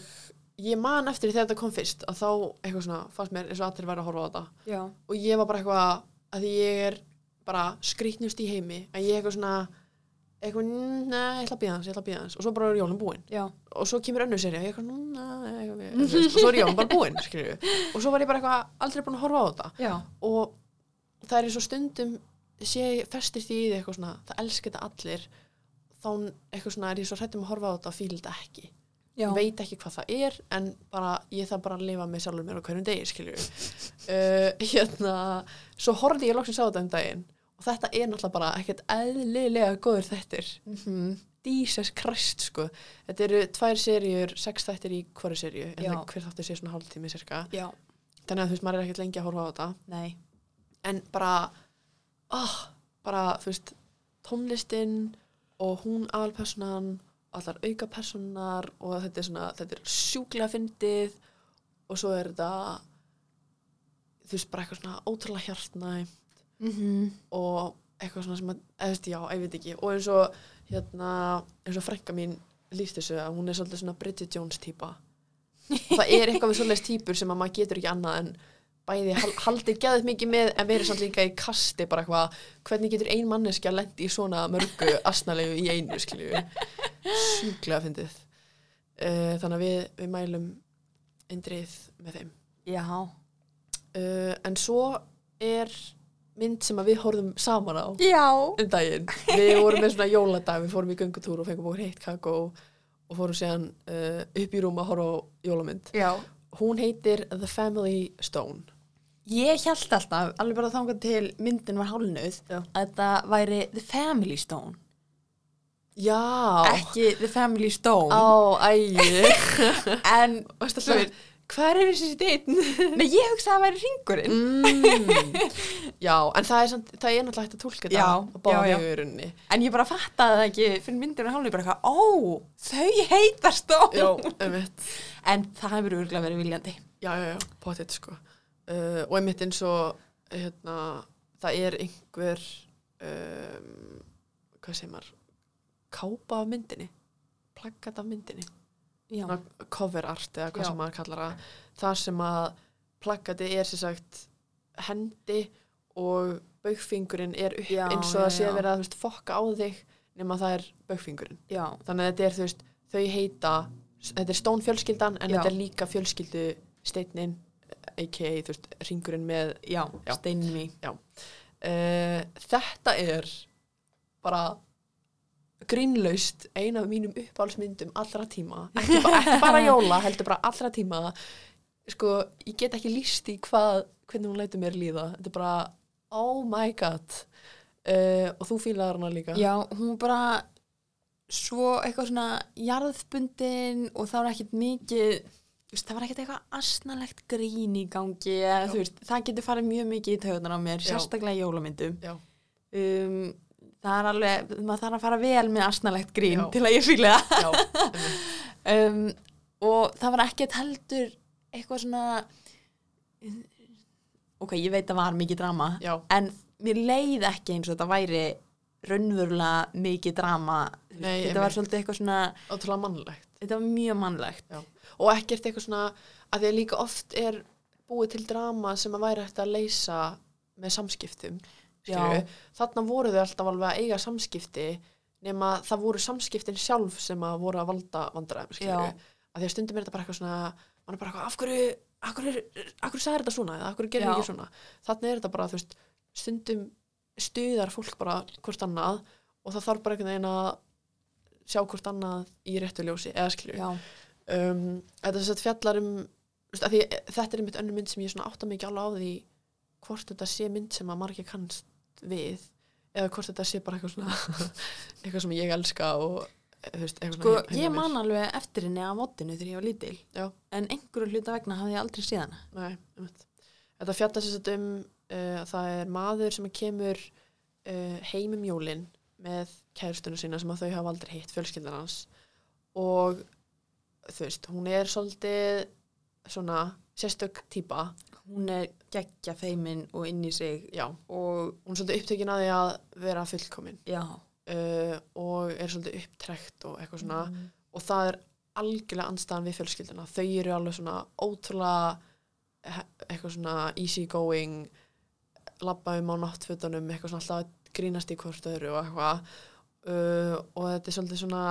Speaker 1: ég man eftir því þegar þetta kom fyrst að þá eitthvað svona fannst mér eins og allir væri að horfa á þetta
Speaker 2: Já.
Speaker 1: og ég var bara eitthvað að því ég er bara skrýtnust í heimi að ég eitthvað svona eitthvað, neða, ég ætla að býða hans, ég ætla að býða hans og svo bara er jólum búin
Speaker 2: Já.
Speaker 1: og svo kemur önnur serið og ég er eitthvað, neða, eitthvað, eitthvað, eitthvað og svo er jólum bara búin, skilju og svo var ég bara eitthvað aldrei búin að horfa á þetta
Speaker 2: Já.
Speaker 1: og það er eins og stundum sé ég festir því í því eitthvað svona það elski þetta allir þá eitthvað svona er ég svo hrættum að horfa á þetta og fíla þetta ekki
Speaker 2: Já.
Speaker 1: veit ekki hvað það er en bara ég þarf bara að lifa með sjálfur mér á hverjum degi skilju uh, hérna, svo horfði ég loksins á þetta um daginn og þetta er náttúrulega bara ekkert eðlilega góður þettir
Speaker 2: Mhm.
Speaker 1: Jesus Christ sko þetta eru tvær serjur, sex þættir í hverju serju en
Speaker 2: Já.
Speaker 1: það hver þáttur sé svona hálftími cirka
Speaker 2: Já.
Speaker 1: þannig að þú veist maður er ekkert lengi að horfa á þetta
Speaker 2: Nei.
Speaker 1: en bara oh, bara þú veist tónlistin og hún aðalpersonan allar auka personar og þetta er svona, þetta er sjúklega fyndið og svo er þetta þú veist bara eitthvað svona ótrúlega hjartnæmt
Speaker 2: Mhm.
Speaker 1: og eitthvað svona sem að, eða þú veist, já, ég veit ekki og eins og, hérna, eins og frænka mín líst þessu að hún er svolítið svona Bridget Jones típa og það er eitthvað við svolítið típur sem að maður getur ekki annað en bæði hal- haldið geðið mikið með en verið samt líka í kasti bara eitthvað hvernig getur ein manneskja lendi í svona mörgu asnalegu í einu skilju sjúklega fyndið uh, þannig að við, við mælum eindrið með þeim
Speaker 2: Já.
Speaker 1: uh, en svo er mynd sem að við horfum saman á
Speaker 2: Já.
Speaker 1: um daginn við vorum með svona jóladag, við fórum í göngutúr og fengum okkur heitt kakó og fórum síðan uh, upp í rúm að horfa á jólamynd
Speaker 2: Já.
Speaker 1: hún heitir The Family Stone
Speaker 2: Ég held alltaf, alveg bara þangað til myndin var hálnuð,
Speaker 1: Já.
Speaker 2: að þetta væri The Family Stone.
Speaker 1: já,
Speaker 2: Ekki The Family Stone.
Speaker 1: á, ægi
Speaker 2: En,
Speaker 1: varst alltaf við, hvað er þessi steinn?
Speaker 2: nei, ég hugsaði að það væri ringurinn.
Speaker 1: mm. já, en það er, samt, það er náttúrulega hægt að tólka
Speaker 2: Já,
Speaker 1: þetta á báða
Speaker 2: já, já.
Speaker 1: vegu í rauninni
Speaker 2: En ég bara fattaði það ekki fyrir myndin var hálnuð, bara eitthvað, ó, þau heita Stone.
Speaker 1: já, einmitt
Speaker 2: En það hefur örgulega verið viljandi.
Speaker 1: já, já, já, potið sko uh, og einmitt eins og hérna, það er einhver um, hvað segir maður kápa af myndinni plaggat af myndinni
Speaker 2: Já.
Speaker 1: Ná, cover art eða hvað
Speaker 2: Já.
Speaker 1: sem maður kallar það þar sem að plaggati er sem sagt hendi og baukfingurinn er upp
Speaker 2: Já,
Speaker 1: eins og
Speaker 2: já,
Speaker 1: það sé
Speaker 2: já.
Speaker 1: verið að þú veist, fokka á þig nema það er baukfingurinn
Speaker 2: Já.
Speaker 1: þannig að þetta er þú veist þau heita, þetta er stón fjölskyldan en
Speaker 2: Já.
Speaker 1: þetta er líka fjölskyldu steinin, a.k.a. þú veist ringurinn með,
Speaker 2: Já,
Speaker 1: Já.
Speaker 2: steinin mý.
Speaker 1: uh, þetta er bara grínlaust ein af mínum uppáhalsmyndum allra tíma ekki, ba ekki bara jóla, heldur bara allra tíma sko, ég get ekki líst í hvað, hvernig hún lætur mér líða þetta er bara, oh my god uh, og þú fílaðar hana líka
Speaker 2: Já, hún var bara svo eitthvað svona jarðbundin og það var ekkert mikið þú veist, það var ekkert eitthvað asnalegt grín í gangi eða, þú veist, það getur farið mjög mikið í taugunar á mér,
Speaker 1: Já.
Speaker 2: sérstaklega í jólamyndum
Speaker 1: Já.
Speaker 2: um, það er alveg maður þarf að fara vel með asnalegt grín
Speaker 1: Já.
Speaker 2: til að ég fýla það
Speaker 1: Já, einmitt.
Speaker 2: um, og það var ekkert heldur eitthvað svona ok, ég veit að var mikið drama
Speaker 1: já,
Speaker 2: en mér leið ekki eins og þetta væri raunverulega mikið drama Þú veist,
Speaker 1: Nei,
Speaker 2: þetta var
Speaker 1: einmitt.
Speaker 2: svolítið eitthvað svona
Speaker 1: ótrúlega mannlegt
Speaker 2: þetta var mjög mannlegt
Speaker 1: Já. og ekkert eitthvað svona að því að líka oft er búið til drama sem að væri hægt að leysa með samskiptum skilurðu. þarna voru þau alltaf alveg að eiga samskipti nema það voru samskiptin sjálf sem að voru að valda vandræðum skilurðu. að því að stundum er þetta bara eitthvað svona mann er bara eitthvað af hverju af hverju, af hverju sagði þetta svona eða af hverju gerir
Speaker 2: Já.
Speaker 1: ekki svona þarna er þetta bara þú veist stundum stuðar fólk bara hvort annað og það þarf bara einhvern veginn að sjá hvort annað í réttu ljósi eða skilju
Speaker 2: já,
Speaker 1: um, þetta er sett fjallar um þú veist, af því, þetta er einmitt önnur mynd sem ég svona átta mikið alveg á því hvort þetta sé mynd sem að margir kannst við eða hvort þetta sé bara eitthvað svona eitthvað sem ég elska og eh, þú veist, eitthvað
Speaker 2: Sko,
Speaker 1: svona heima mér.
Speaker 2: ég man alveg eftir henni af vottinu þegar ég var lítil.
Speaker 1: Já.
Speaker 2: En einhverju hluta vegna hafði ég aldrei séð hana.
Speaker 1: Nei, einmitt. Þetta fjallast þess að um uh, það er maður sem kemur uh, heim um jólin með kærstuna sína sem að þau hafa aldrei hitt fjölskyldan hans og þú veist, hún er svolítið svona sérstök típa
Speaker 2: Hún er geggja feimin og inn í sig
Speaker 1: já,
Speaker 2: og,
Speaker 1: hún er svolítið upptekin að því að vera fullkomin
Speaker 2: já.
Speaker 1: uh, og er svolítið upptrekt og eitthvað svona
Speaker 2: Mm.
Speaker 1: og það er algjörlega anstæðan við fjölskylduna þau eru alveg svona ótrúlega he- eitthvað svona easy going labba um á náttfötunum eitthvað svona alltaf að grínast í hvort öðru og eitthvað uh, og þetta er svolítið svona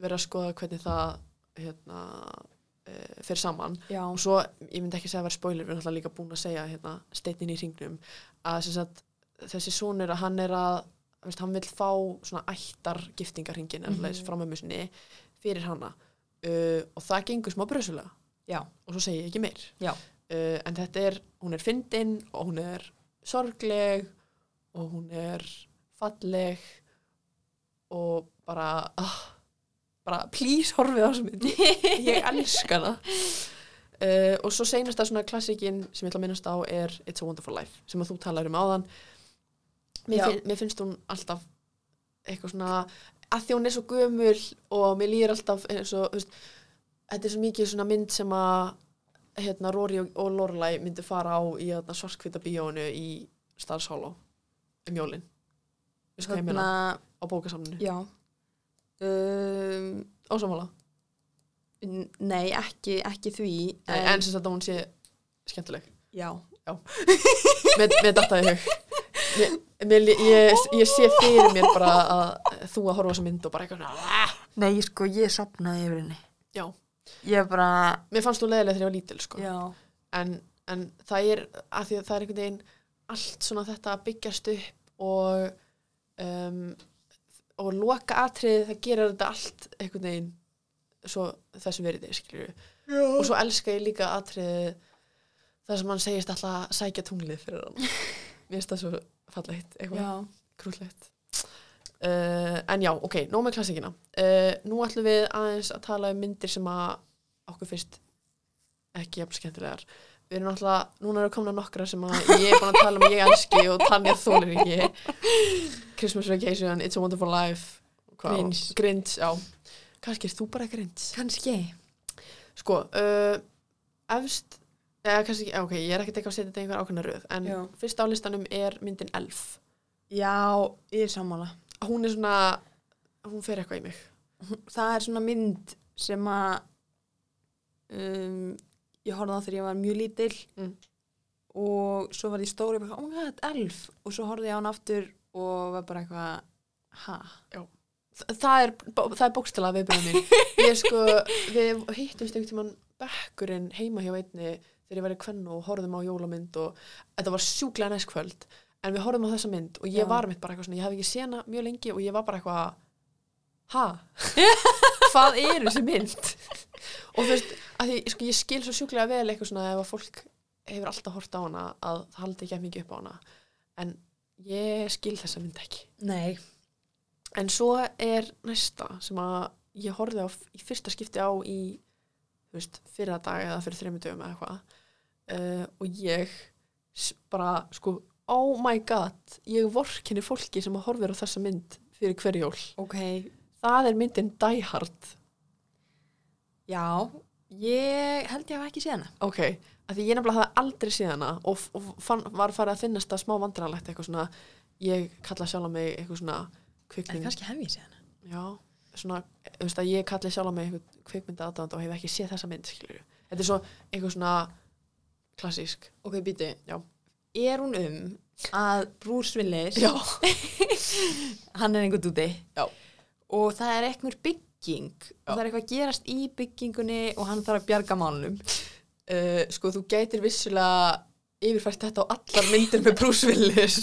Speaker 1: verið að skoða hvernig það hérna uh, fyrir saman
Speaker 2: Já,
Speaker 1: og svo, ég myndi ekki segja að vera spoiler við erum alltaf líka búin að segja hérna, steinninn í hringnum að sem sagt, þessi sonur að hann er að þú veist, hann vil fá svona ættar giftingarhringin mm
Speaker 2: Mhm.
Speaker 1: -hmm. frá mömmu sinni fyrir hana uh, og það gengur smá brösulega
Speaker 2: Já.
Speaker 1: og svo segi ég ekki meir
Speaker 2: Já.
Speaker 1: uh, en þetta er, hún er fyndin og hún er sorgleg og hún er falleg og bara ah, bara please horfið á þessu mynd ég elska það uh, og svo seinasta svona klassikin sem ég ætla að minnast á er It's a Wonderful Life sem að þú talar um áðan mér,
Speaker 2: Já.
Speaker 1: finn, mér finnst hún alltaf eitthvað svona að því hún er svo gömul og mér líður alltaf eins og þú veist, þetta er svo mikið svona mynd sem að hérna Rory og, og Lorelai myndu fara á í hérna, svartkvita bíónu í Stars Hollow um jólin Þú veist hvað ég meina,
Speaker 2: Hérna-
Speaker 1: á bókasamninu
Speaker 2: já. Um,
Speaker 1: ósamála,
Speaker 2: n- nei, ekki, ekki því.
Speaker 1: en, en sem þetta hún sé skemmtileg
Speaker 2: Já,
Speaker 1: með, með data í hug Mér- mér, ég, ég, ég sé fyrir mér bara að þú að horfa á þessa mynd og bara eitthvað svona "Ah!"
Speaker 2: Nei, ég sko, ég sapnaði yfir henni.
Speaker 1: Já.
Speaker 2: Ég bara,
Speaker 1: mér fannst þú leðilega þegar ég var lítil sko.
Speaker 2: já,
Speaker 1: en, en það er að því að það er einhvern veginn allt svona þetta að byggjast upp og um, og loka atriði það gerir þetta allt einhvern veginn svo þessum verið skilur
Speaker 2: já.
Speaker 1: og svo elska ég líka atriði þar sem hann segist alltaf að sækja tunglið fyrir hann mér finnst það svo fallegt eitthvað
Speaker 2: já.
Speaker 1: krúllegt uh, en já, ok, nóg með klassikina uh, nú ætlum við aðeins að tala um myndir sem að okkur finnst ekki jafn skemmtilegar við erum alltaf, núna eru komna nokkra sem að ég er búin að tala um að ég elski og Tanja þólir ekki Christmas Vacation, It's a Wonderful Life hvað á-
Speaker 2: Grinch.
Speaker 1: Grinch, já kannski er þú bara Grinch
Speaker 2: Kanski.
Speaker 1: sko, uh, efst eða kannski, ekki- já, ok, ég er ekkert ekki að setja þetta í einhver ákveðna röð en
Speaker 2: Já.
Speaker 1: fyrst á listanum er myndin Elf
Speaker 2: Já, ég er sammála.
Speaker 1: hún er svona hún fer eitthvað í mig
Speaker 2: Það er svona mynd sem að um, ég horfði á þegar ég var mjög lítil
Speaker 1: Mm.
Speaker 2: og svo var ég stóri og bara, oh my god, elf og svo horfði ég á hann aftur og var bara eitthvað, ha?
Speaker 1: Þa- það er, það er bókstala viðbjörnum mín ég sko, við hittumst einhvern tímann bekkurinn heima hjá einni þegar ég var í kvennu og horfðum á jólamynd og þetta var sjúklega næst kvöld en við horfðum á þessa mynd og ég
Speaker 2: Já.
Speaker 1: var mitt bara eitthvað svona, ég hef ekki sena mjög lengi og ég var bara eitthvað ha? hvað er þessi mynd? og þú veist, að því sko, ég skil svo sjúklega vel eitthvað svona ef að fólk hefur alltaf hort á hana að það haldi ekki að mikið upp á hana en ég skil þessa mynd ekki
Speaker 2: Nei.
Speaker 1: En svo er næsta sem að ég horfði á f- í fyrsta skipti á í þú veist, fyrra dag eða fyrir þreymur dögum eða eitthvað uh, og ég s- bara sko, oh my god ég vorkinni fólki sem að horfir á þessa mynd fyrir hverjól.
Speaker 2: Ok,
Speaker 1: Það er myndin Die Hard
Speaker 2: já, ég held ég hafa ekki séð hana.
Speaker 1: Ok, af því ég nefnilega hafði aldrei séð hana og, f- og fann, var farið að finnast það smá vandræðanlegt eitthvað svona, ég kalla sjálf á mig eitthvað svona
Speaker 2: En
Speaker 1: kvikmynd
Speaker 2: kannski hef ég séð hana.
Speaker 1: Já, svona, þú veist að ég kalli sjálf á mig einhvern kvikmynda aðdáðand og hef ekki séð þessa mynd, skilur Þetta er svo einhver svona klassísk.
Speaker 2: Ok, býtu.
Speaker 1: Já.
Speaker 2: Er hún um að Bruce Willis
Speaker 1: Já.
Speaker 2: hann er einhvern úti
Speaker 1: Já.
Speaker 2: og það er einhver bygging og
Speaker 1: Já.
Speaker 2: það er eitthvað að gerast í byggingunni og hann þarf að bjarga málunum
Speaker 1: Uh, sko, þú gætir vissulega yfirfært þetta á allar myndir með Bruce Willis.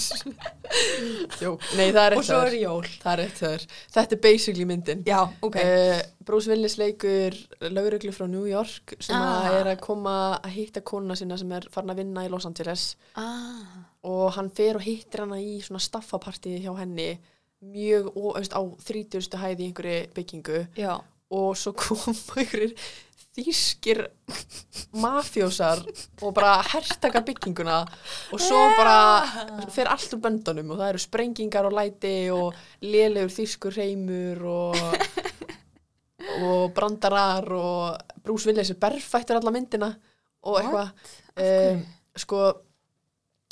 Speaker 1: Jó, nei, það er
Speaker 2: og
Speaker 1: rétt
Speaker 2: svo
Speaker 1: hjá
Speaker 2: er
Speaker 1: þér.
Speaker 2: jól Eh,
Speaker 1: Það er rétt hjá þér. Þetta er basically myndin.
Speaker 2: já, ok,
Speaker 1: Uh, Bruce Willis leikur lauruglu frá New York sem
Speaker 2: Ah.
Speaker 1: að er að koma að hitta kona sinna sem er farin að vinna í Los Angeles
Speaker 2: ah,
Speaker 1: og hann fer og hittir hana í svona staffapartíð hjá henni mjög og, veist, á 30. hæði í einhverju byggingu
Speaker 2: já,
Speaker 1: og svo kom einhverjir þýskir mafjósar og bara hertaka bygginguna og svo bara fer allt úr böndunum og það eru sprengingar og læti og lélegur þýskur reymur og, og brandarar og Bruce Willis er berfættur alla myndina og eitthvað um, sko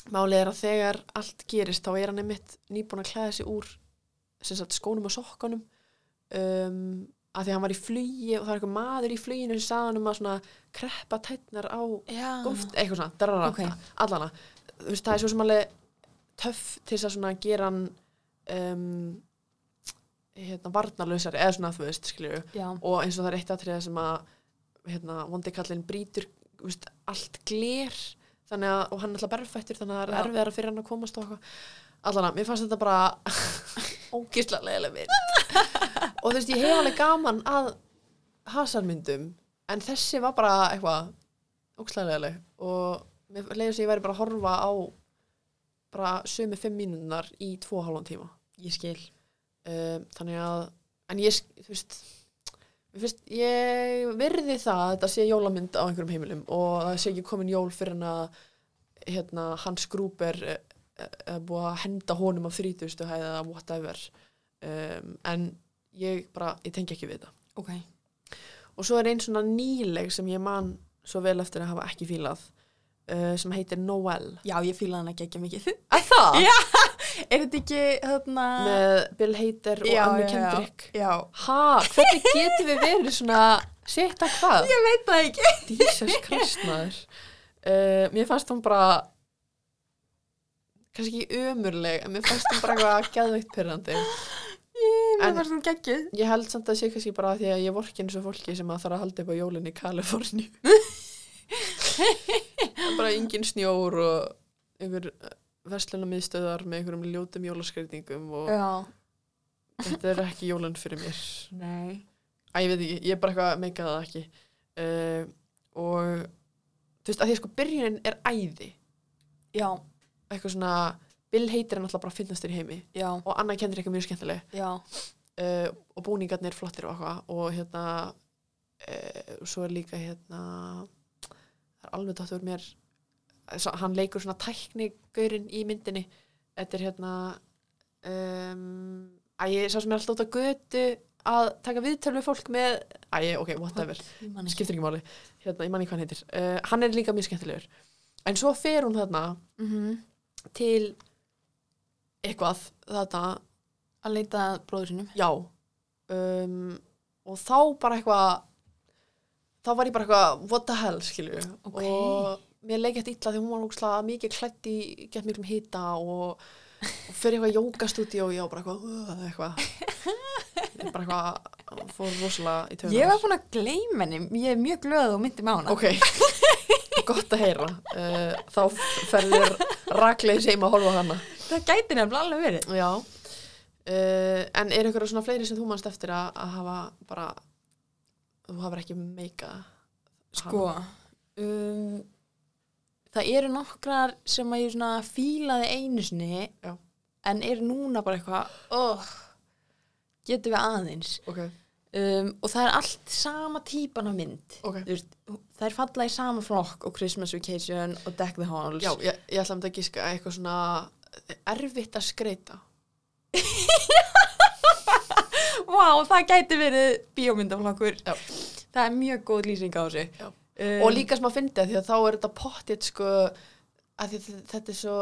Speaker 1: málið er að þegar allt gerist þá er hann einmitt nýbúin að klæða sig úr sem sagt skónum og sokkunum um, að því hann var í flugi og það var eitthvað maður í fluginu sem sagði hann um að svona kreppa tætnar á
Speaker 2: já,
Speaker 1: gólft, eitthvað svona, darara,
Speaker 2: Ah. Ok.
Speaker 1: okay. allana þú veist, það er svo sem alveg töff til þess að svona gera hann um, hérna, varnarlausari eða svona, þú veist, skilju
Speaker 2: já,
Speaker 1: og eins og það er eitt atriða sem að hérna, vondi kallinn brýtur þú veist, allt gler þannig að, og hann er alltaf berfættur þannig að það
Speaker 2: Já.
Speaker 1: er erfiðara fyrir hann að komast og okkur allan að, mér fannst þetta bara ógislega leiðilega mynd og þú veist, ég hef alveg gaman að hasarmyndum en þessi var bara eitthvað ógislega leiðileg og mér leiðis að ég væri bara að horfa á bara sömu fimm mínúnar í tvo og hálfan tíma
Speaker 2: ég skil
Speaker 1: um, þannig að en ég, sk- þú veist, mér finnst, ég virði það að þetta sé jólamynd á einhverjum heimilum og það sé ekki komin jól fyrir en að hérna, hans grúp er eh, eh, eh, búið að henda honum af 30 hæð eða whatever um, en ég bara, ég tengi ekki við þetta
Speaker 2: ok,
Speaker 1: og svo er einn svona nýleg sem ég man svo vel eftir að hafa ekki fílað uh, sem heitir Noel
Speaker 2: já, ég fíla hann ekki ekki mikið
Speaker 1: Er það?
Speaker 2: Já. er þetta ekki, hérna
Speaker 1: Með Bill Hader og
Speaker 2: Já,
Speaker 1: Annu
Speaker 2: já, já.
Speaker 1: Kendrick
Speaker 2: já,
Speaker 1: Ha, hvernig getum við verið svona Sitta hvað?
Speaker 2: ég veit það ekki
Speaker 1: Jesus Christ maður uh, Mér fannst hún bara kannski ekki ömurleg en mér fannst hún bara eitthvað geðveikt pyrrandi
Speaker 2: Mér
Speaker 1: En-
Speaker 2: var svona geggjuð
Speaker 1: Ég held samt að sé kannski bara af því að ég vorki eins og fólki sem að þarf að halda upp á jólinn í Kaliforni bara engin snjór og einhver verslunamiðstöðar með einhverjum ljótum jólaskreitingum og
Speaker 2: Já,
Speaker 1: þetta er ekki jólinn fyrir mér
Speaker 2: nei
Speaker 1: Æ, ég veit ekki, ég er bara eitthvað að meika það ekki uh, og þú veist, að því að sko byrjunin er æði
Speaker 2: Já,
Speaker 1: eitthvað svona, Bill heitir hann alltaf bara finnastur í heimi
Speaker 2: já,
Speaker 1: og Anna kendur eitthvað mjög skemmtileg
Speaker 2: já
Speaker 1: uh, og búningarnir er flottir og eitthvað og hérna uh, svo er líka hérna það er alveg tóttur mér svo, hann leikur svona tæknigaurinn í myndinni þetta er hérna um, að ég sá sem er alltaf út á götu að taka viðtölu við fólk með æ, ok, whatever
Speaker 2: Ég man ekki.
Speaker 1: skiptir ekki máli, hérna, ég manni hvað hann heitir uh, hann er líka mjög skemmtilegur en svo fer hún þarna
Speaker 2: Mhm.
Speaker 1: til eitthvað þarna,
Speaker 2: Að leita að bróður sinum
Speaker 1: já um, og þá bara eitthvað þá var ég bara eitthvað what the hell, skilju
Speaker 2: Ok.
Speaker 1: og mér leik eftir illa því hún var úkslega mikið klætt í gett miklum hita og, og fyrir eitthvað jókastúdíu og ég var bara eitthvað "Ugh", eitthvað Ég bara eitthvað fór rosalega í töðunar
Speaker 2: Ég var búin að gleyma henni, ég er mjög glöð og myndi með hana
Speaker 1: Ok, gott að heyra uh, Þá ferðir rakleis heim að horfa á hana
Speaker 2: Það gæti nefnilega alveg verið
Speaker 1: Já uh, En er einhverja svona fleiri sem þú manst eftir að, að hafa bara þú hafur ekki meika Eh,
Speaker 2: Sko um, Það eru nokkrar sem að ég svona fílaði einu sinni
Speaker 1: Já.
Speaker 2: en er núna bara eitthvað oh, getum við aðeins
Speaker 1: Ok,
Speaker 2: um, og það er allt sama típan af mynd
Speaker 1: ok
Speaker 2: Þú veist, það er falla í sama flokk og Christmas Vacation og Deck the Halls
Speaker 1: Já, ég, ég ætla um þetta að gíska að eitthvað svona erfitt að skreita
Speaker 2: Vá, það gæti verið bíómyndaflokkur
Speaker 1: Já.
Speaker 2: Það er mjög góð lýsing á þessu
Speaker 1: Já.
Speaker 2: Um,
Speaker 1: og líka sem að fyndi að því að þá er þetta pottið sko að því að þetta er svo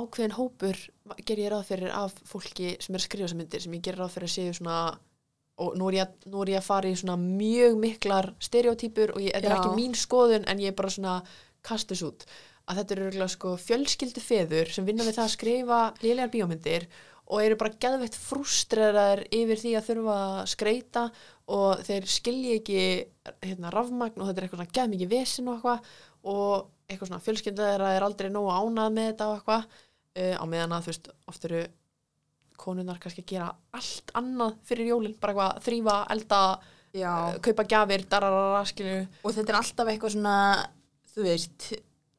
Speaker 1: ákveðin hópur ger ég ráð fyrir af fólki sem er að skrifa sem myndir sem ég ger ráð fyrir að séu svona og nú er ég, að- nú er ég að fara í svona mjög miklar stereotypur og ég, þetta er
Speaker 2: Já.
Speaker 1: ekki mín skoðun en ég er bara svona kastus út að þetta eru örgulega sko fjölskyldu feður sem vinna við það að skrifa lélegar bíómyndir og eru bara geðveitt frústreraðar yfir því að þurfa að skreita og þeir skilji ekki hérna, rafmagn og þetta er eitthvað svona geð mikið vesin og eitthvað og eitthvað svona fjölskyldu þeirra er aldrei nógu ánað með þetta og eitthvað uh, á meðan að þú veist oft eru konunnar kannski að gera allt annað fyrir jólinn, bara eitthvað þrýfa, elda,
Speaker 2: Já,
Speaker 1: uh, kaupa gjafir dararara, skilju
Speaker 2: og þetta er alltaf eitthvað svona, þú veist,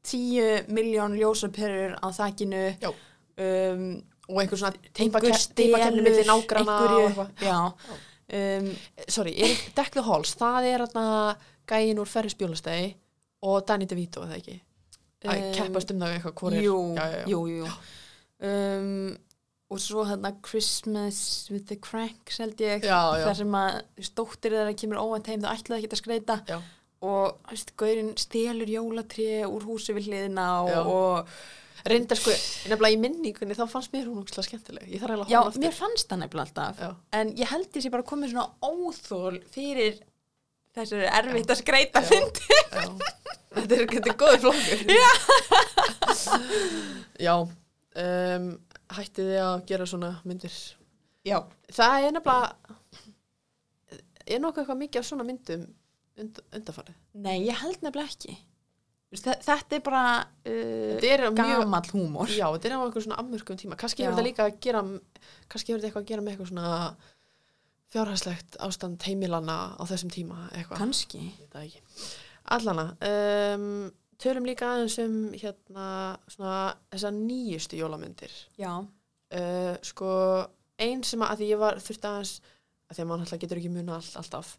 Speaker 2: tíu miljón ljósaperur á þakinu
Speaker 1: Já.
Speaker 2: um,
Speaker 1: og einhver svona
Speaker 2: einhver
Speaker 1: teipakemmi milli nágrana og
Speaker 2: einhverju,
Speaker 1: eitthvað.
Speaker 2: já um,
Speaker 1: Eh, sorry, Eric Deck the Halls það er hann gæin úr Ferris bjólastegi og Danny DeVito, er það ekki? að
Speaker 2: Um,
Speaker 1: keppast um það eitthvað hvor er
Speaker 2: jú,
Speaker 1: já, já, já.
Speaker 2: jú, jú, jú um, og svo hérna Christmas with the Cranks held ég
Speaker 1: Já, já.
Speaker 2: þar sem að þú veist, dóttir þeirra kemur óvænt heim það ætlaði ekki að skreita
Speaker 1: Já.
Speaker 2: og þú veist, gaurinn stelur jólatrí úr húsi við hliðina og,
Speaker 1: Já.
Speaker 2: og
Speaker 1: reyndar sko, nefnilega í minningunni þá fannst mér hún ógstlega skemmtileg ég þarf
Speaker 2: já,
Speaker 1: eiginlega að
Speaker 2: mér fannst það nefnilega alltaf
Speaker 1: Já.
Speaker 2: en ég held ég sé bara komið svona óþól fyrir þessari erfitt að skreita fyndi
Speaker 1: já. þetta er, þetta er góður flokkur já já um, hætti þið að gera svona myndir
Speaker 2: já,
Speaker 1: það er nefnilega er nokkuð eitthvað mikið af svona myndum und, undanfarið
Speaker 2: nei, ég held nefnilega ekki Þú veist, þe- þetta er bara uh,
Speaker 1: þetta er mjög
Speaker 2: gamall húmor
Speaker 1: Já, þetta er á einhver svona afmörkum tíma. Kannski
Speaker 2: Já.
Speaker 1: hefur þetta líka að gera, kannski hefur þetta eitthvað að gera með eitthvað svona fjárhæslegt ástand heimilana á þessum tíma eitthvað.
Speaker 2: kannski
Speaker 1: Ég veit það ekki. Allana, um, tölum líka aðeins um hérna svona þessar nýjustu jólamyndir.
Speaker 2: já,
Speaker 1: Uh, sko, ein sem að, að því ég var þurfti aðeins, að því að mann alltaf getur ekki muna allt, alltaf,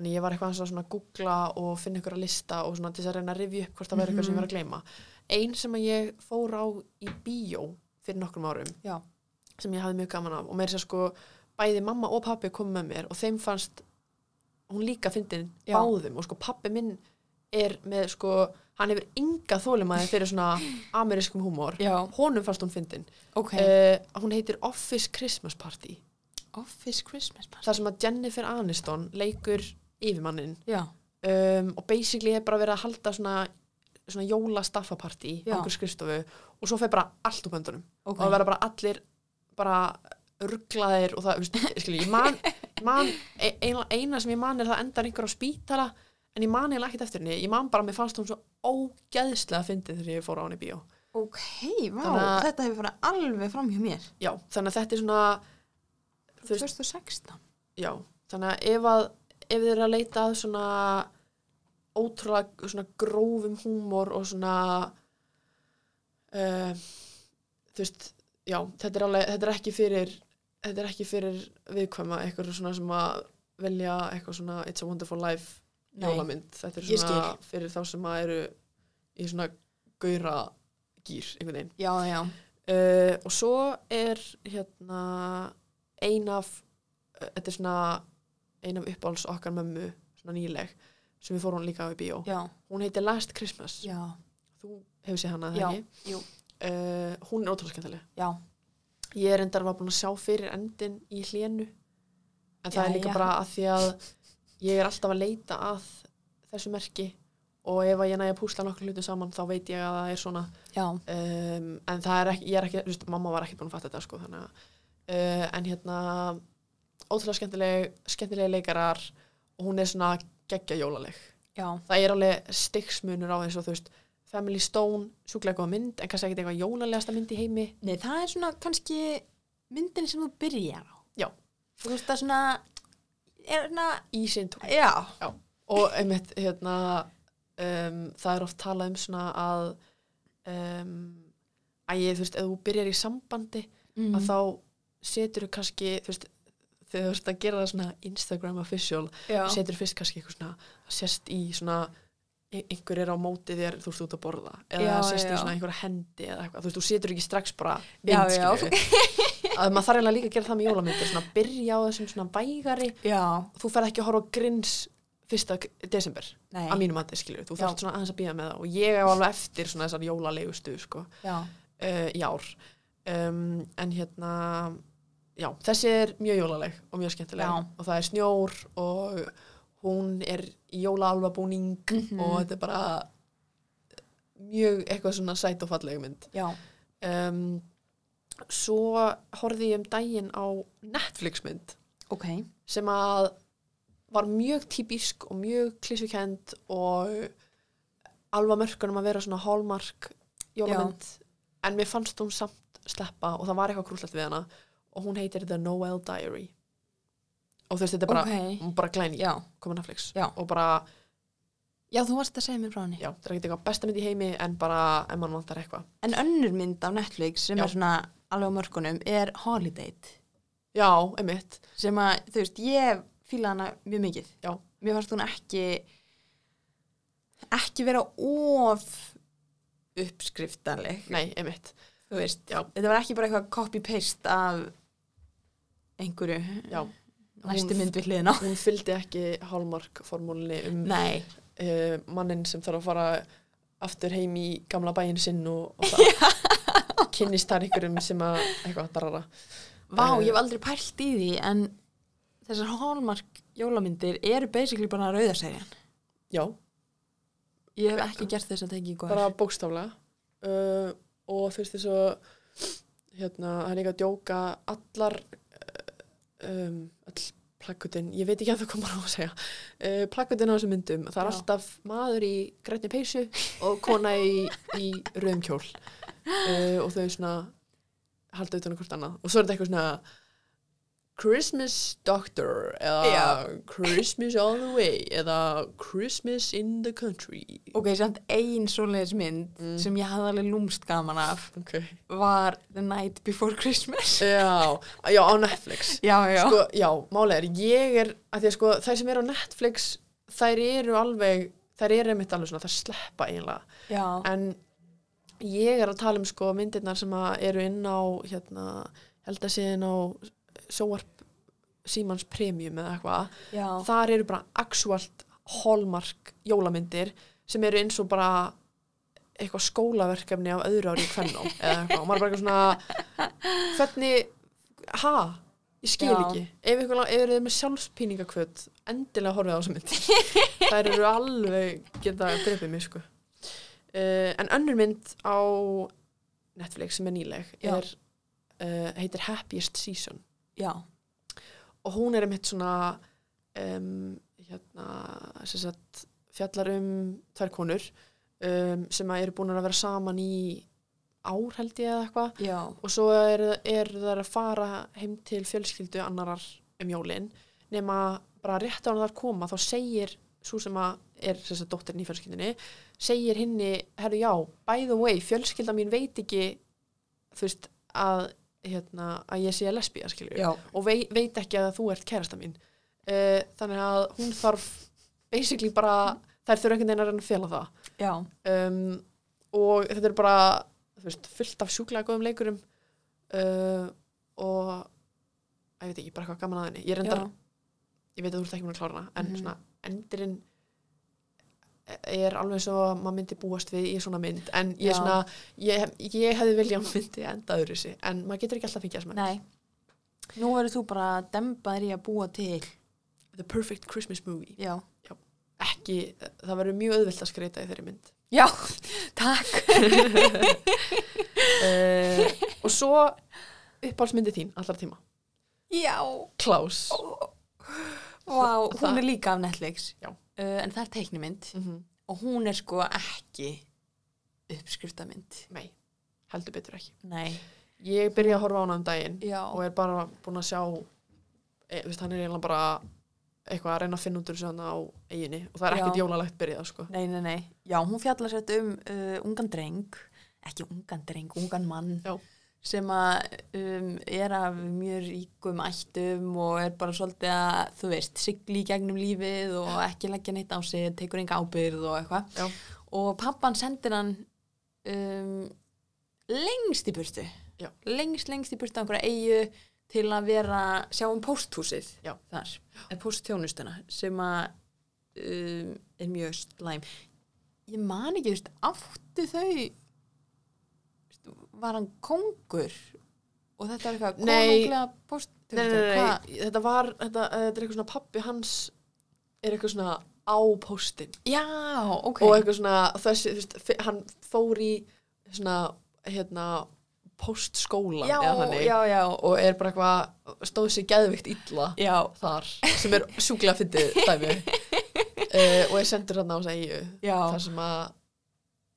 Speaker 1: en ég var eitthvað aðeins að svona googla og finna einhverja lista og svona til þess að reyna að rifja upp hvort það væri eitthvað sem ég var
Speaker 2: Mhm.
Speaker 1: að gleyma. Ein sem að ég fór á í bíó fyrir nokkrum árum
Speaker 2: já,
Speaker 1: sem ég hafði mjög gaman af og meira sér sko bæði mamma og pappi kom með mér og þeim fannst hún líka fyndin
Speaker 2: Já.
Speaker 1: báðum og sko pappi minn er með sko hann hefur ynga þólimaði fyrir svona amerískum húmor
Speaker 2: já,
Speaker 1: honum fannst hún fyndin
Speaker 2: ok
Speaker 1: uh, hún heitir Office Christmas Party
Speaker 2: Office Christmas party
Speaker 1: þar sem að Jennifer Aniston leikur yfirmannin
Speaker 2: já,
Speaker 1: um, og basically er bara verið að halda svona svona jóla staffapartí
Speaker 2: Já.
Speaker 1: okkur skrifstofu og svo fer bara allt úr böndunum
Speaker 2: ok,
Speaker 1: og það verða bara allir bara rugglaðir og það, veist, skilji, ég man, man e- eina, eina sem ég man er að það endar einhver á spítala en ég man eiginlega ekkert eftir henni ég man bara að mér fannst hún svo ógæðslega fyndið þegar ég fór á henni í bíó
Speaker 2: ok, vá,
Speaker 1: Þannig að-
Speaker 2: þetta hefur farið alveg fram hjá mér
Speaker 1: já, þannig að þetta er svona Þú veist-
Speaker 2: 2016
Speaker 1: já, þannig að ef, að, ef þið eru að leita að svona ótrúlega svona grófum húmor og svona uh, þú veist já, þetta er, alveg, þetta er ekki fyrir þetta er ekki fyrir viðkvæma eitthvað svona sem að velja eitthvað svona It's a Wonderful Life
Speaker 2: Nei.
Speaker 1: jólamynd, þetta er
Speaker 2: Ég
Speaker 1: svona fyrir þá sem að eru í svona gaura gýr einhvern veginn
Speaker 2: já, já,
Speaker 1: Uh, og svo er hérna ein af uh, þetta er svona ein af uppáhalds okkar mömmu, svona nýleg sem við fórum líka á í bíó.
Speaker 2: já,
Speaker 1: Hún heitir Last Christmas.
Speaker 2: já,
Speaker 1: Þú hefur séð hana
Speaker 2: já,
Speaker 1: þegar ekki.
Speaker 2: jú,
Speaker 1: Uh, hún er ótrúlega skemmtileg.
Speaker 2: já,
Speaker 1: Ég er endar var búin að sjá fyrir endin í hlénu. En það
Speaker 2: Já,
Speaker 1: er líka
Speaker 2: já.
Speaker 1: bara að því að ég er alltaf að leita að þessu merki og ef að ég næja að púsla nokkur hlutum saman þá veit ég að það er svona
Speaker 2: já,
Speaker 1: um, en það er ekki, ég er ekki þú veist, mamma var ekki búin að fatta þetta sko þannig að uh, en hérna ótrúlega skemmtileg, skemmtilega leikarar og hún er svona geggja jólaleg
Speaker 2: já,
Speaker 1: það er alveg styggsmunur á eins og þú veist Family Stone, sjúklega góða mynd en kannski ekkert eitthvað jólalegasta mynd í heimi
Speaker 2: Nei, það er svona kannski myndin sem þú byrjar á.
Speaker 1: Já.
Speaker 2: Þú veist það svona, er svona,
Speaker 1: í sinn tók
Speaker 2: já.
Speaker 1: og einmitt hérna um, það er oft talað um svona að um, að ég þú veist, ef þú byrjar í sambandi
Speaker 2: Mm.
Speaker 1: að þá setur þú kannski þú veist, þegar þú ert að gera það svona Instagram official,
Speaker 2: já.
Speaker 1: setur fyrst kannski eitthvað svona, það sést í svona e- einhver er á móti þér, þú ert út að borða eða
Speaker 2: Já,
Speaker 1: það sést
Speaker 2: já.
Speaker 1: í svona einhverja hendi eða eitthvað, þú veist, þú setur ekki strax bara
Speaker 2: Já,
Speaker 1: mynd,
Speaker 2: já.
Speaker 1: skilju að maður þarf eiginlega líka að gera það með jólamyndir svona byrja á þessum svona vægari
Speaker 2: Já,
Speaker 1: þú ferð ekki að horfa á grins fyrsta k- desember,
Speaker 2: nei,
Speaker 1: að mínu mati, skilju þú
Speaker 2: Já.
Speaker 1: þarft svona aðeins að býða með það og ég á alveg eftir svona þessar jólalegustu, sko
Speaker 2: já,
Speaker 1: uh, í ár um, en hérna já, þessi er mjög jólaleg og mjög skemmtileg
Speaker 2: Já.
Speaker 1: og það er snjór og hún er í jólaalvabúning og þetta er bara mjög eitthvað svona sæt og falleg mynd
Speaker 2: já,
Speaker 1: um, svo horfði ég um daginn á Netflix mynd
Speaker 2: ok,
Speaker 1: sem að var mjög típisk og mjög klísukend og alvað mörkunum að vera svona hallmark jólamynd en mér fannst hún samt sleppa og það var eitthvað krúllett við hana og hún heitir The Noel Diary og þú veist þetta er bara,
Speaker 2: ok,
Speaker 1: hún bara glæni
Speaker 2: já,
Speaker 1: komið Netflix
Speaker 2: Já.
Speaker 1: og bara
Speaker 2: Já, þú varst að segja mér frá henni.
Speaker 1: Já, það er ekki eitthvað besta mynd í heimi en bara ef mann vantar eitthvað.
Speaker 2: En önnur mynd af Netflix sem
Speaker 1: Já.
Speaker 2: er svona alveg á mörkunum er Holiday
Speaker 1: Já, einmitt.
Speaker 2: sem að, þú veist, ég fíla hana mjög mikið.
Speaker 1: Já.
Speaker 2: Mér fannst hún ekki ekki vera of uppskriftanleg,
Speaker 1: Nei, einmitt.
Speaker 2: þú veist.
Speaker 1: Já.
Speaker 2: Þetta var ekki bara eitthvað copy-paste af einhverju
Speaker 1: Já.
Speaker 2: næstu
Speaker 1: Hún-
Speaker 2: mynd við hliðina. á.
Speaker 1: Hún fylgdi ekki hálmarkformúlinni um
Speaker 2: Nei.
Speaker 1: uh, mannin sem þarf að fara aftur heim í gamla bæinn sinn og, og það kynnist þar einhverjum sem að eitthvað darara.
Speaker 2: Vá,
Speaker 1: Eh.
Speaker 2: ég hef aldrei pælt í því en þessar hallmark jólamyndir eru basically bara rauðarsæðjan.
Speaker 1: Já,
Speaker 2: Ég hef ekki gert þess að teki í góður.
Speaker 1: bara bókstaflega. Uh, og þú veist þess að hérna, það er líka að djóka allar eh, um, all plakkutin, ég veit ekki að það komar á að segja uh, plakkutin á þessum myndum það er
Speaker 2: Já.
Speaker 1: alltaf maður í grænni peysu og kona í, í rauðum kjól uh, og þau svona halda utan á hvort annað og svo er þetta eitthvað svona Christmas Doctor eða
Speaker 2: Já.
Speaker 1: Christmas All The Way eða Christmas in the Country
Speaker 2: Ok, samt ein svoleiðis mynd
Speaker 1: Mm.
Speaker 2: sem ég hafði alveg lúmst gaman af
Speaker 1: okay.
Speaker 2: var The Night Before Christmas.
Speaker 1: já, já, á Netflix
Speaker 2: já, já.
Speaker 1: sko, já, málega er, ég er að því að sko, þær sem eru á Netflix þær eru alveg, þær eru einmitt alveg svona, þær sleppa eiginlega
Speaker 2: já.
Speaker 1: en ég er að tala um sko myndirnar sem að eru inn á hérna, held að séðin á Sjóarp Símans Premium eða eitthvað,
Speaker 2: já.
Speaker 1: þar eru bara actualt hallmark jólamyndir sem eru eins og bara eitthvað skólaverkefni af öðru ári í kvennum eða eitthvað, og maður er bara eitthvað svona hvernig, ha? Ég skil
Speaker 2: Já.
Speaker 1: ekki, ef ykkur ef eru með sjálfspíningakvöt, endilega horfið á þessu mynd þær eru alveg geta drefið mig sko uh, en önnur mynd á Netflix sem er nýleg
Speaker 2: Já.
Speaker 1: er, uh, heitir Happiest Season
Speaker 2: Já.
Speaker 1: og hún er einmitt svona um, hérna sem sagt, fjallar um tvær konur um, sem að eru búin að vera saman í ár held ég eða eitthvað
Speaker 2: Já.
Speaker 1: og svo er, er þær að fara heim til fjölskyldu annarar um jólin nema bara rétt á hann þar koma þá segir svo sem að er sem sagt, dóttirinn í fjölskyldunni segir henni, herru já, by the way fjölskylda mín veit ekki þú veist að hérna, að ég sé lesbía skilju
Speaker 2: Já.
Speaker 1: og vei, veit ekki að þú ert kærasta mín uh, þannig að hún þarf basically bara, þær þurfa einhvern veginn að reyna að fela það
Speaker 2: Já.
Speaker 1: um, og þetta er bara þú veist, fullt af sjúklega góðum leikurum uh, og að ég veit ekki, bara eitthvað gaman að henni ég reyndar, ég veit að þú ert ekki mér að klára hana en
Speaker 2: Mhm.
Speaker 1: svona, endurinn er alveg svo að maður myndi búast við í svona mynd en ég,
Speaker 2: Já.
Speaker 1: svona, ég, ég hefði viljað að myndi enda öðru sig en maður getur ekki alltaf fengið að sem
Speaker 2: Nei. Nú verður þú bara að demba þér í að búa til.
Speaker 1: The Perfect Christmas Movie
Speaker 2: Já.
Speaker 1: ekki, það verður mjög auðvilt að skreita í þeirri mynd
Speaker 2: Já. Takk.
Speaker 1: uh, og svo uppáhaldsmyndi þín allar tíma,
Speaker 2: Já.
Speaker 1: Klaus
Speaker 2: Ó. Vá, hún
Speaker 1: Það-
Speaker 2: er líka af Netflix.
Speaker 1: Já.
Speaker 2: Uh, en það er teiknumynd
Speaker 1: mm -hmm.
Speaker 2: og hún er sko ekki uppskriftamynd.
Speaker 1: nei, heldur betur ekki
Speaker 2: Nei.
Speaker 1: ég byrja að horfa á hana um daginn
Speaker 2: Já.
Speaker 1: og er bara búin að sjá e, veist, hann er eiginlega bara eitthvað að reyna að finna út úr þessu hana á eiginni og það er ekkert
Speaker 2: Já.
Speaker 1: jólalegt byrjað sko.
Speaker 2: Nei, nei, nei. Já, hún fjallar sett um uh, ungan dreng, ekki ungan dreng, ungan mann
Speaker 1: Já.
Speaker 2: sem að um, er af mjög ríkum ættum og er bara svolítið að, þú veist, sigli í gegnum lífið og ekki leggja neitt á sig, tekur enga ábyrð og eitthvað.
Speaker 1: Já.
Speaker 2: Og pappan sendir hann um, lengst í burtu.
Speaker 1: Já.
Speaker 2: Lengst, lengst í burtu á einhverja eigu til að vera, sjá um pósthúsið
Speaker 1: Já.
Speaker 2: þar, eða pósttjónustuna sem að um, er mjög slæm ég man ekki, þú veist, áttu þau þú veist, var hann kongur og þetta er eitthvað
Speaker 1: Nei.
Speaker 2: konunglega post
Speaker 1: nei, nei, nei, nei, þetta var þetta, eh, þetta er eitthvað svona pappi hans er eitthvað svona á póstinn
Speaker 2: já, ok
Speaker 1: og eitthvað svona þessi, þú veist, fi- hann fór í svona, hérna postskólan
Speaker 2: já,
Speaker 1: eða þannig
Speaker 2: já, já,
Speaker 1: og er bara eitthvað stóð sér geðvikt illa
Speaker 2: já,
Speaker 1: þar sem er sjúklega fyndið dæmi uh, og er sendur hann á þess eigu
Speaker 2: já
Speaker 1: þar sem að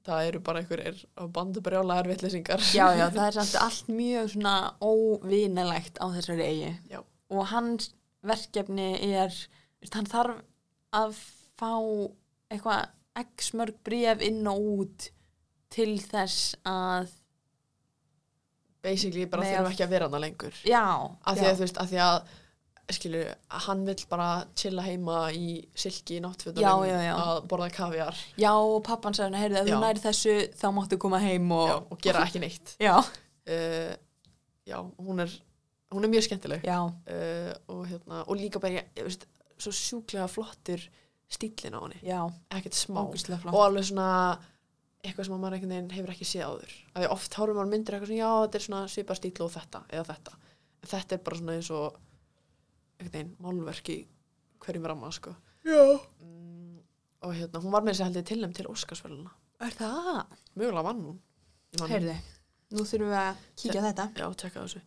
Speaker 1: það eru bara einhverjir á bandubrjálaðar vitleysingar
Speaker 2: já, já, það er samt allt mjög svona óvinalegt á þessari eigi
Speaker 1: Já.
Speaker 2: og hans verkefni er veist, hann þarf að fá eitthvað x mörg bréf inn og út til þess að
Speaker 1: basically bara
Speaker 2: Nei,
Speaker 1: þurfum
Speaker 2: að-
Speaker 1: ekki að vera hana lengur
Speaker 2: já,
Speaker 1: af því
Speaker 2: já,
Speaker 1: að þú veist, af því að skilur, hann vill bara chilla heima í silki í náttfötunum
Speaker 2: Já, já, já.
Speaker 1: að borða kaviar
Speaker 2: já og pappan sagði hann, heyrðu, ef
Speaker 1: Já.
Speaker 2: þú næri þessu þá máttu koma heim og
Speaker 1: já, og gera ekki neitt
Speaker 2: já,
Speaker 1: uh, já, hún er hún er mjög skemmtileg
Speaker 2: já,
Speaker 1: uh, og, hérna, og líka bara, ég- ég veist svo sjúklega flottur stíllin á henni
Speaker 2: já,
Speaker 1: ekkert smá
Speaker 2: ógustlega flott
Speaker 1: og alveg svona eitthvað sem maður einhvern veginn hefur ekki séð áður af því oft horfum maður myndir eitthvað svona já þetta er svona svipað stíl og þetta eða þetta en þetta er bara svona eins og einhvern veginn málverk í hverjum ramma sko
Speaker 2: já.
Speaker 1: mm, og hérna hún var með þessi heldur tilnæm til Óskarsvöluna
Speaker 2: er það?
Speaker 1: mögulega vann hún Ég man-
Speaker 2: heyrðu, nú þurfum við að kíkja á þetta
Speaker 1: já tekka þessu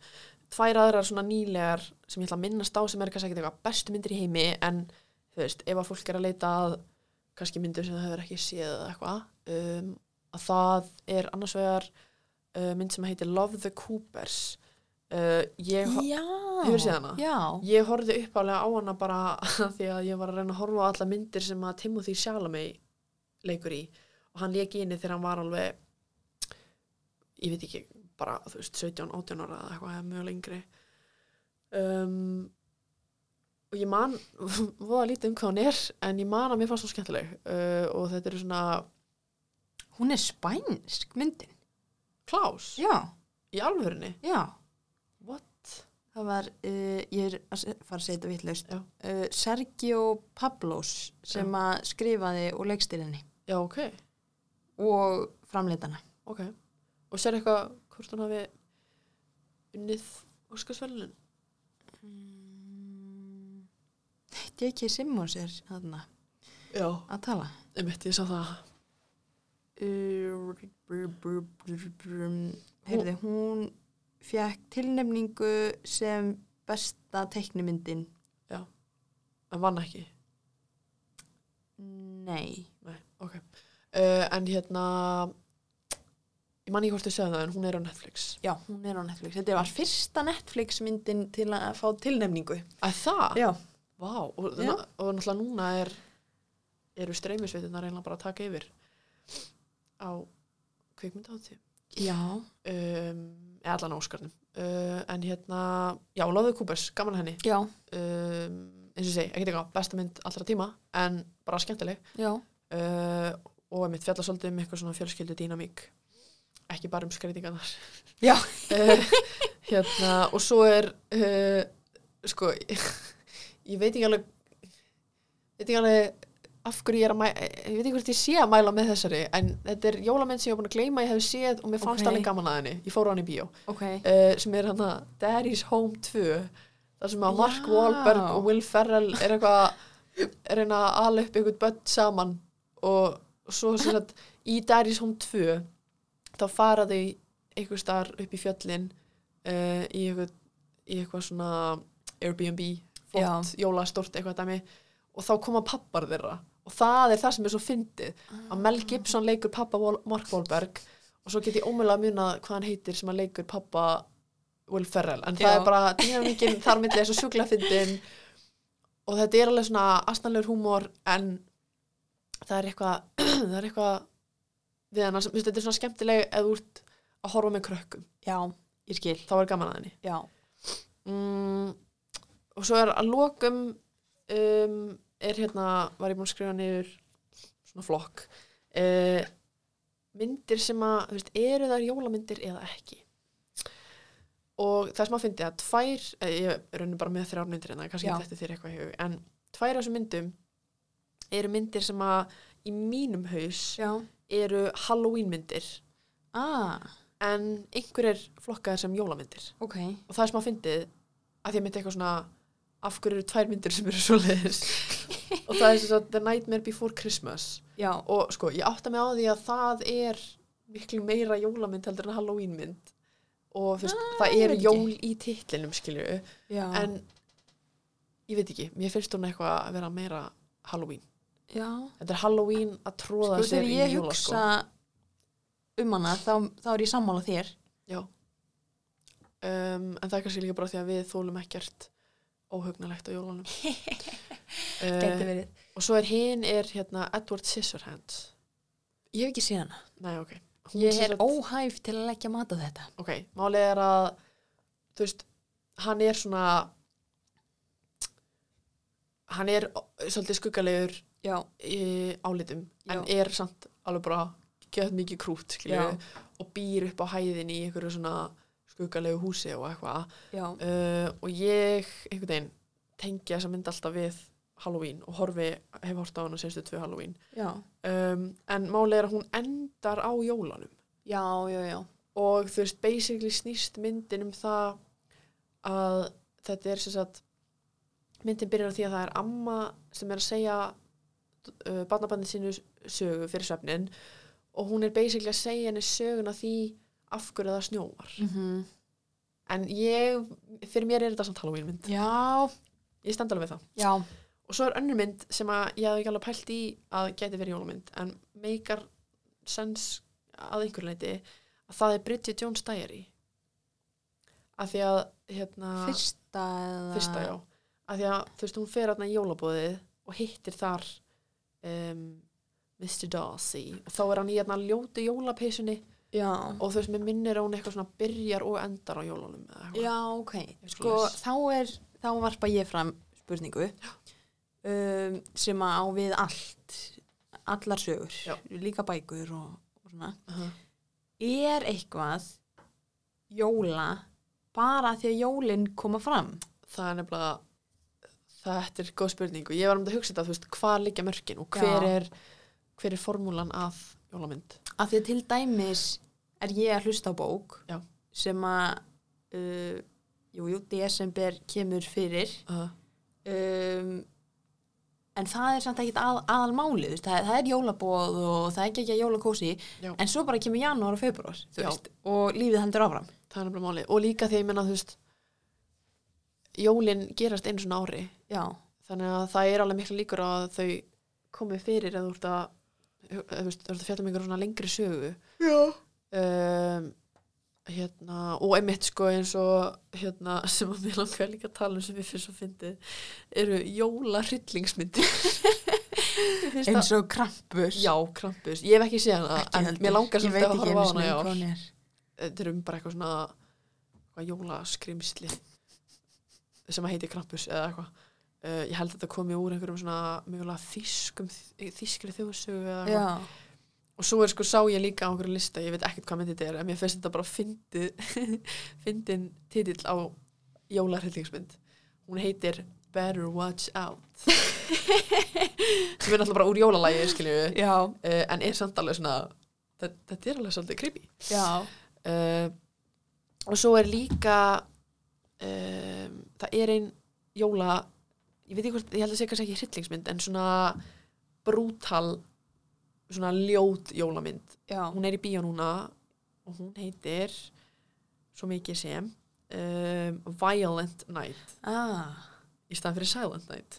Speaker 1: tvær aðrar svona nýlegar sem ég ætla að minnast á sem er kannski ekkert eitthvað bestu myndir í heimi en þú veist ef að fólk er að leita að kannski myndir sem það hefur ekki séð eða eitthvað um, að það er annars vegar uh, mynd sem heitir Love the Coopers uh, ég, ho-
Speaker 2: já,
Speaker 1: Hefurðu séð hana?
Speaker 2: já,
Speaker 1: ég horfði uppálega á hana bara af því að ég var að reyna að horfa á alla myndir sem að Timothy Chalamet leikur í og hann leik í henni þegar hann var alveg ég veit ekki bara þú veist 17, 18 ára eða eitthvað eða mjög lengri um, og ég man voða lítið um hvað hann er en ég man að mér fannst hún skemmtileg uh, og þetta eru svona
Speaker 2: hún er spænsk myndin
Speaker 1: klás
Speaker 2: já,
Speaker 1: í alvörinni
Speaker 2: já
Speaker 1: what?
Speaker 2: það var, uh, ég er að se- fara að segja þetta vitlaust
Speaker 1: Já.
Speaker 2: uh, Sergio Pablos sem að skrifaði og leikstýrinni
Speaker 1: já ok,
Speaker 2: og framleitana
Speaker 1: ok og sér eitthvað hvort hann hafi unnið Óskarsverðlun
Speaker 2: J.K. Simmons er þarna
Speaker 1: já,
Speaker 2: að tala
Speaker 1: einmitt, ég sá það
Speaker 2: Uh, brr, brr, brr, brr. heyrði, hún fekk tilnefningu sem besta teiknumyndin
Speaker 1: en vann ekki
Speaker 2: nei,
Speaker 1: Nei, ok. uh, en hérna ég man ekki hvort þau segja það en hún er á Netflix
Speaker 2: já, hún er á Netflix þetta var fyrsta Netflix myndin til að fá tilnefningu
Speaker 1: að það?
Speaker 2: já,
Speaker 1: Vá, og, og
Speaker 2: Já.
Speaker 1: náttúrulega núna er eru streymisveitunar eiginlega bara að taka yfir á kvikmyndahátti
Speaker 2: já
Speaker 1: um, eða allan á Óskarnum uh, en hérna, já, Lóðu Kúpers, gaman að henni
Speaker 2: Já,
Speaker 1: um, eins og ég segi, ekkert eitthvað, besta mynd allra tíma en bara skemmtileg
Speaker 2: já,
Speaker 1: uh, og einmitt fjalla svolítið um eitthvað svona fjölskyldu dýnamík ekki bara um skreitingarnar
Speaker 2: Já.
Speaker 1: uh, hérna, og svo er uh, sko ég veit ekki alveg veit ekki alveg af hverju ég er að mæla ég veit ekki hvort ég sé að mæla með þessari en þetta er jólamynd sem ég er búin að gleyma að ég hef séð og mér fannst
Speaker 2: Ok.
Speaker 1: alveg gaman að henni ég fór á henni í bíó
Speaker 2: ok.
Speaker 1: uh, sem er hann að Daddy's Home 2 þar sem að Mark
Speaker 2: Já.
Speaker 1: Wahlberg og Will Ferrell er eitthvað er reyna að ala upp einhvern börn saman og svo sem sagt í Daddy's Home 2 þá fara þau einhver starf upp í fjöllin uh, í, eitthvað, í eitthvað svona Airbnb fótt, jólastort eitthvað dæmi og þá koma pappar þeirra og það er það sem er svo fyndið að Mel Gibson leikur pappa Wal- Mark Wahlberg og svo get ég ómjöðlega að muna hvað hann heitir sem að leikur pappa Will Ferrell en það
Speaker 2: Já.
Speaker 1: er bara dýnamíkin þar milli er svo sjúklega fyndin og þetta er alveg svona astanlegur húmor en það er eitthvað það er eitthvað við hann sem, þú veist, þetta er svona skemmtileg eða þú ert að horfa með krökkum
Speaker 2: Já, ég skil.
Speaker 1: þá er gaman að henni
Speaker 2: Já,
Speaker 1: mm, og svo er að lokum um, er hérna var ég búin að skrifa niður svona flokk uh, myndir sem að þú veist, eru þær jólamyndir eða ekki og það sem að fyndi að tvær eh, ég raunum bara með þrjár myndir en það kannski
Speaker 2: Já.
Speaker 1: þetta þér eitthvað í hug en tvær af þessum myndum eru myndir sem að í mínum haus
Speaker 2: já.
Speaker 1: eru Halloween myndir
Speaker 2: Ah,
Speaker 1: en einhverjir flokkaðir sem jólamyndir
Speaker 2: ok.
Speaker 1: og það er smá fyndið að því að myndi eitthvað svona af hverju eru tvær myndir sem eru svo leiðis og það er svo The Nightmare Before Christmas
Speaker 2: Já,
Speaker 1: og sko, ég átta mig á því að það er miklu meira jólamynd heldur en Halloweenmynd og fyrst,
Speaker 2: Ah,
Speaker 1: það
Speaker 2: ég
Speaker 1: eru
Speaker 2: veit ekki. Ah.
Speaker 1: jól í titlinum skilju,
Speaker 2: já.
Speaker 1: en ég veit ekki, mér finnst hún eitthvað að vera meira Halloween,
Speaker 2: já.
Speaker 1: þetta er Halloween að tróða
Speaker 2: Sko
Speaker 1: sér
Speaker 2: þegar
Speaker 1: í
Speaker 2: ég
Speaker 1: jólaskó
Speaker 2: hugsa um hana, þá, þá er ég sammála þér.
Speaker 1: um, en það er kannski líka bara því að við þólum ekkert óhugnalegt á jólunum
Speaker 2: Gæti
Speaker 1: uh,
Speaker 2: verið.
Speaker 1: og svo er hinn er hérna Edward Scissorhands
Speaker 2: Ég hef ekki séð hana.
Speaker 1: nei ok Hún
Speaker 2: Ég
Speaker 1: sem
Speaker 2: er
Speaker 1: sagt-
Speaker 2: óhæf til að leggja mat á þetta.
Speaker 1: ok, málið er að þú veist, hann er svona hann er ó- svolítið skuggalegur
Speaker 2: Já.
Speaker 1: í álitum en er samt alveg bara gett mikið krút skilju,
Speaker 2: Já.
Speaker 1: og býr upp á hæðin í einhverju svona skuggalegu húsi og eitthvað
Speaker 2: Já.
Speaker 1: uh, og ég einhvern veginn tengi þessa mynd alltaf við Halloween og horfi, hef hort á hana senstu tvö Halloween
Speaker 2: Já.
Speaker 1: um, en málið er að hún endar á jólanum
Speaker 2: Já, já, já.
Speaker 1: og þú veist, basically snýst myndin um það að þetta er sem sagt myndin byrjar á því að það er amma sem er að segja uh, barnabandin sínu sögu fyrir svefnin og hún er basically að segja henni söguna því af hverju það snjóar
Speaker 2: Mm -hmm.
Speaker 1: en ég, fyrir mér er þetta samt Halloween mynd
Speaker 2: Já.
Speaker 1: ég stend alveg við það
Speaker 2: Já.
Speaker 1: og svo er önnur mynd sem að ég hafði ekki alveg pælt í að gæti verið jólamynd en meikar sens að einhverju leiti að það er Bridget Jones Diary af því að hérna,
Speaker 2: Fyrsta eða...
Speaker 1: fyrsta já af því að þú veist hún fer aðna í jólabóðið og hittir þar um, Mr. Darcy og þá er hann í hérna ljótu jólapeysunni
Speaker 2: Já.
Speaker 1: og þú veist mér minnir að hún eitthvað svona byrjar og endar á jólunum eða eitthvað.
Speaker 2: Já, ok.
Speaker 1: Eitthvað
Speaker 2: Sko,
Speaker 1: svoleiðis.
Speaker 2: þá er, þá varpa ég fram spurningu um, sem að á við allt, allar sögur,
Speaker 1: Já.
Speaker 2: líka bækur og, og svona.
Speaker 1: Aha.
Speaker 2: Er eitthvað jóla bara því að jólinn koma fram?
Speaker 1: það er nefnilega þetta er góð spurning og ég var um þetta að hugsa þetta þú veist, hvað liggja mörkin og hver
Speaker 2: Já.
Speaker 1: er hver er formúlan að jólamynd
Speaker 2: Af því að til dæmis er ég að hlusta á bók
Speaker 1: Já.
Speaker 2: sem að uh, jú, jú, desember kemur fyrir
Speaker 1: uh,
Speaker 2: um, en það er samt ekkit að, aðalmáli veist, það, það er jólabóð og það er ekki ekki að jólakósi
Speaker 1: Já.
Speaker 2: en svo bara kemur janúar og februar þú
Speaker 1: Já.
Speaker 2: veist, og lífið heldur áfram
Speaker 1: það er nefnilega málið og líka því ég menna þú veist jólin gerast einu svona ári
Speaker 2: já,
Speaker 1: þannig að það er alveg miklu líkur á að þau komi fyrir eða þú ert að eða, þú veist, þú ert að fjalla um einhver svona lengri sögu
Speaker 2: já.
Speaker 1: um, hérna, og einmitt sko eins og hérna, sem að mér langar líka að tala um sem ég fyrst að fyndi eru jólaryllingsmyndir Mér finnst það-
Speaker 2: eins og krampur
Speaker 1: Já, Krampus, ég hef ekki séð hana
Speaker 2: Ekki
Speaker 1: en
Speaker 2: heldur.
Speaker 1: mér langar
Speaker 2: ég
Speaker 1: svolítið
Speaker 2: veit
Speaker 1: að
Speaker 2: ekki
Speaker 1: horfa á hana í
Speaker 2: einu sinni
Speaker 1: ár
Speaker 2: hvað hún er
Speaker 1: Þetta er um bara eitthvað svona eitthvað jólaskrimsli sem að heiti Krampus eða eitthvað uh, Ég held að þetta komi úr einhverjum svona mjögulega þýskum þýskri þjóðsögu eða eitthvað
Speaker 2: já,
Speaker 1: og svo er sko sá ég líka á einhverju lista ég veit ekkert hvað myndið þetta er en mér finnst þetta bara fyndið fyndin titill á jólarhyllingsmynd hún heitir Better Watch Out sem er alltaf bara úr jólalægi skiljum við
Speaker 2: já,
Speaker 1: uh, en er samt alveg svona þe- þetta er alveg svolítið creepy
Speaker 2: já.
Speaker 1: uh, og svo er líka um, það er ein jóla ég veit ekki hvort, ég held að sé kannski ekki hryllingsmynd en svona brútal svona ljót jólamynd
Speaker 2: já.
Speaker 1: hún er í bíó núna og hún heitir svo mikið sem um, Violent Night
Speaker 2: Ah,
Speaker 1: í staðan fyrir Silent Night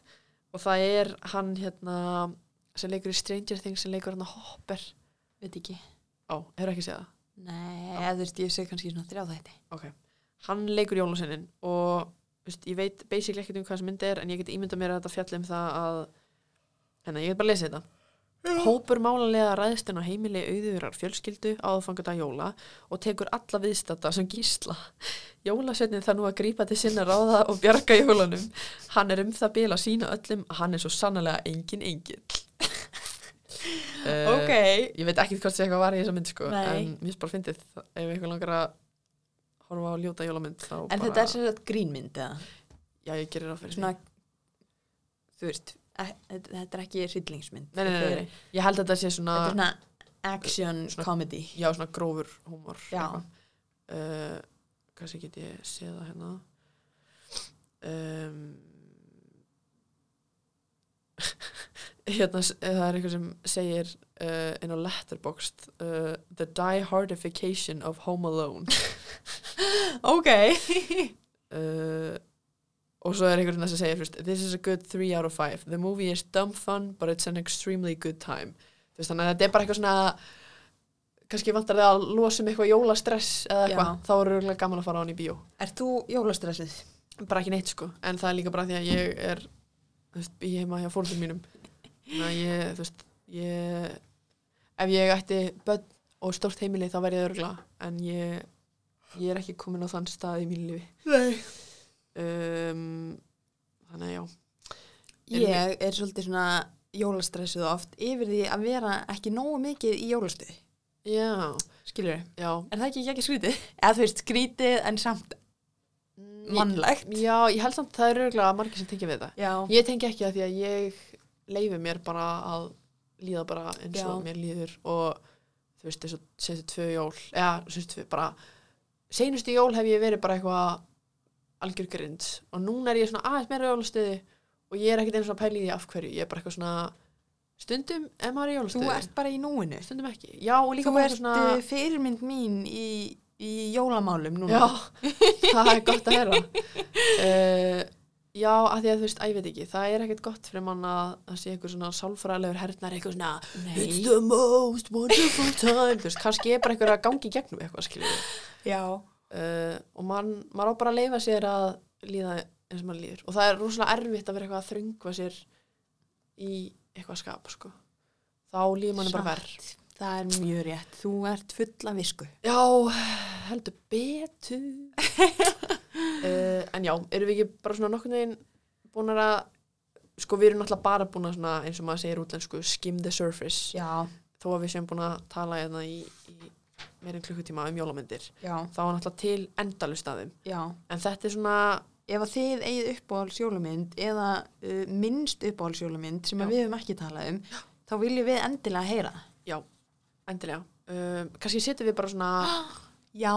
Speaker 1: og það er hann hérna sem leikur í Stranger Things sem leikur hann að Hopper
Speaker 2: veit ekki
Speaker 1: á, hefur ekki séð það
Speaker 2: Nei, eða þú veist, ég sé kannski svona þrjá þætti.
Speaker 1: ok, hann leikur jólasennin og veist, ég veit basically ekkert um hvað sem mynd er en ég get ímyndað mér að þetta fjalli um það að hérna, ég get bara að lesa þetta Hópur málanlega ræðist en á heimili auðurar fjölskyldu áðfangat að jóla og tekur alla viðstata sem gísla. Jólasveitin þarf nú að grípa til sinna ráða og bjarga jólunum. Hann er um það bil að sína öllum að hann er svo sannlega engin engill. Eh, ég veit ekki hvort sé eitthvað var í þessa mynd sko,
Speaker 2: Nei.
Speaker 1: en mér finnst bara fyndið ef einhver langar að horfa á ljóta jólamynd þá
Speaker 2: En
Speaker 1: bara,
Speaker 2: þetta er sem sagt grínmynd eða?
Speaker 1: já ég gerir það fyrir
Speaker 2: Svona, þú veist, e þetta þetta er ekki hryllingsmynd.
Speaker 1: Nei, nei, nei, nei,
Speaker 2: Þetta er-
Speaker 1: nei. ég held að þetta sé svona,
Speaker 2: Þetta er svona action
Speaker 1: Svona-
Speaker 2: comedy.
Speaker 1: já svona grófur húmor
Speaker 2: Já.
Speaker 1: uh, kannski get ég séð það hérna um, hérna s- eh, það er eitthvað sem segir uh, inn á letterboxd uh, the diehardification of home alone
Speaker 2: Ok.
Speaker 1: uh, og svo er einhvern veginn sem segir fyrst, this is a good 3 out of 5 the movie is dumb fun but it's an extremely good time Þú veist, þannig að þetta er bara eitthvað svona kannski vantar það að losa um eitthvað jólastress eða eitthvað,
Speaker 2: Já.
Speaker 1: þá eru rúglega gaman að fara á hann í bíó
Speaker 2: Er þú jólastressið?
Speaker 1: bara ekki neitt sko en það er líka bara því að ég er þú veist, ég heima hjá fórhundum mínum þannig að ég, þú veist, ég ef ég ætti börn og stórt heimili þá væri ég örgla en ég, ég er ekki komin á þann stað í mínu lífi
Speaker 2: Nei.
Speaker 1: um, þannig að já
Speaker 2: Ég er svolítið svona jólastressuð oft yfir því að vera ekki nógu mikið í jólastuði.
Speaker 1: já,
Speaker 2: Skilur þau?
Speaker 1: já
Speaker 2: Er það ekki, ekki skrítið? Eða þú veist, skrítið en samt
Speaker 1: Ég-
Speaker 2: mannlegt.
Speaker 1: já, Mm, ég held samt að það eru örgla margir sem tengja við það
Speaker 2: Já.
Speaker 1: ég tengi ekki að því að ég leifi mér bara að líða bara eins og
Speaker 2: Já.
Speaker 1: mér líður og þú veist þessu senstu tvö jól eða senstu tvö bara seinustu jól hef ég verið bara eitthvað algjör grind og núna er ég svona aðeins meira jólastuði og ég er ekkert einu svona pæli í því af hverju ég er bara eitthvað svona stundum ef maður er í
Speaker 2: Þú
Speaker 1: jólastuði
Speaker 2: ert bara í núinu.
Speaker 1: stundum ekki já og líka
Speaker 2: Þú
Speaker 1: bara
Speaker 2: ert
Speaker 1: svona
Speaker 2: svona... fyrirmynd mín í, í jólamálum núna.
Speaker 1: já það er gott að heyra uh, já að því að þú veist að ég veit ekki það er ekkert gott fyrir mann að það sé eitthvað svona sálfræðilegur hernar eitthvað svona It's
Speaker 2: Nei.
Speaker 1: the most wonderful time Þú veist, kannski er bara einhver að gangi í gegnum eitthvað skilur
Speaker 2: Já.
Speaker 1: uh, og mann, maður á bara að leifa sér að líða eins og maður líður og það er rosalega erfitt að vera eitthvað að þröngva sér í eitthvað skap sko. þá líður mann bara verð
Speaker 2: Satt. Það er mjög rétt. Þú ert fulla visku.
Speaker 1: Já, heldur betur uh, En já, erum við ekki bara svona nokkurn veginn búin að sko við erum náttúrulega bara búin að svona eins og maður segir útlensku skim the surface
Speaker 2: Já.
Speaker 1: þó að við séum búin að tala hérna í, í meirinn klukkutíma um jólamyndir
Speaker 2: Já.
Speaker 1: þá er náttúrulega til endalust af þeim
Speaker 2: Já.
Speaker 1: en þetta er svona
Speaker 2: Ef að þið eigið uppáhaldsjólamynd eða uh, minnst uppáhaldsjólamynd sem
Speaker 1: Já.
Speaker 2: að við höfum ekki talað um, þá viljum við endilega heyra. það.
Speaker 1: endilega um, kannski setjum við bara svona
Speaker 2: Já.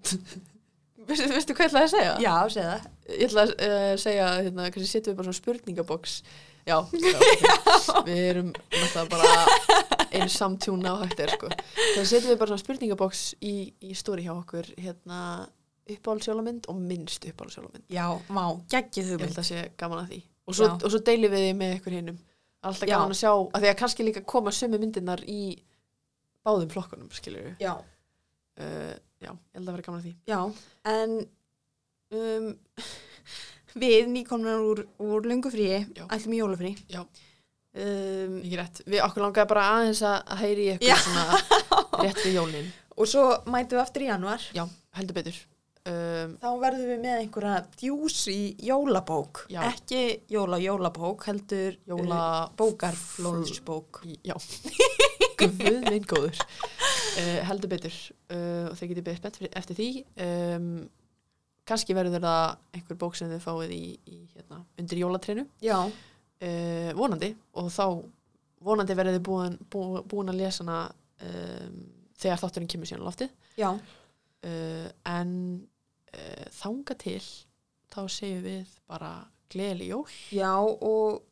Speaker 1: veistu, veistu hvað ég ætlaði að segja?
Speaker 2: Já, segð það.
Speaker 1: ég ætla að uh, segja hérna, kannski setjum við bara svona spurningaboks já, já, ok. við erum náttúrulega bara einu samtjúna á hægt er sko þannig setjum við bara svona spurningaboks í, í stóri hjá okkur hérna uppáhaldsjólamynd og minnst uppáhaldsjólamynd
Speaker 2: Já, má,
Speaker 1: ég
Speaker 2: geggið
Speaker 1: held
Speaker 2: hugmynd.
Speaker 1: að sé gaman að því og svo,
Speaker 2: Já.
Speaker 1: og svo deilum við því með ykkur hinnum alltaf
Speaker 2: Já.
Speaker 1: gaman að sjá, að því að kannski líka koma sömu myndirnar í báðum flokkunum skilur við
Speaker 2: Já.
Speaker 1: já, ég held að vera gaman að því
Speaker 2: Já, en um, við nýkomnar úr, úr lungu fríi,
Speaker 1: Já.
Speaker 2: ætlum í jólafrí.
Speaker 1: Já.
Speaker 2: Um,
Speaker 1: Mikið rétt, við okkur langaði bara aðeins að að heyri ykkur
Speaker 2: Já.
Speaker 1: svona rétt við jólin
Speaker 2: og svo mætum við aftur í januar.
Speaker 1: Já, heldur betur um,
Speaker 2: Þá verðum við með einhverja djúsi jólabók.
Speaker 1: Já.
Speaker 2: Ekki jóla-jólabók, heldur
Speaker 1: Jóla
Speaker 2: uh, bókarflóðsbók.
Speaker 1: Já Guð minn góður uh, Heldur betur uh, og þeir getið beðið spennt fyrir- eftir því um, Kanski verður það einhver bók sem þið fáið í, í hérna, undir jólatreinu
Speaker 2: Já,
Speaker 1: uh, vonandi og þá vonandi verður þið búin, bú, búin að lesa hana um, þegar þátturinn kemur síðan á loftið
Speaker 2: já,
Speaker 1: uh, en uh, þanga til þá segjum við bara gleðileg jól
Speaker 2: já og,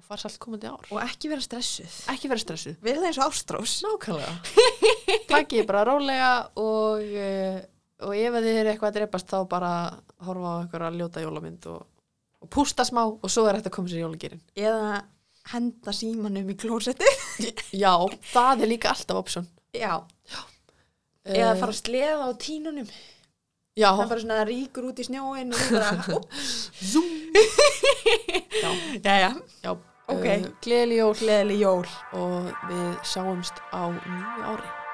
Speaker 1: og farsall komandi ár
Speaker 2: og ekki vera stressuð.
Speaker 1: ekki vera stressu
Speaker 2: Verða eins og ástrós.
Speaker 1: nákvæmlega takk ég bara rólega og, uh, og ef að þið eru eitthvað að dreipast þá bara horfa á einhverja ljóta jólamynd og, og pústa smá og svo er þetta að koma sér í jólagýrin
Speaker 2: Eða henda símanum í klósetti.
Speaker 1: já, það er líka alltaf option Eh,
Speaker 2: Já, eða fara að sleða á tínunum.
Speaker 1: já,
Speaker 2: Það bara svona ríkur út í snjóin og þú bara, upp.
Speaker 1: zoom já,
Speaker 2: Jæja,
Speaker 1: já
Speaker 2: Ok.
Speaker 1: uh, gleðileg jól
Speaker 2: gleðileg jól.
Speaker 1: og við sjáumst á nýju ári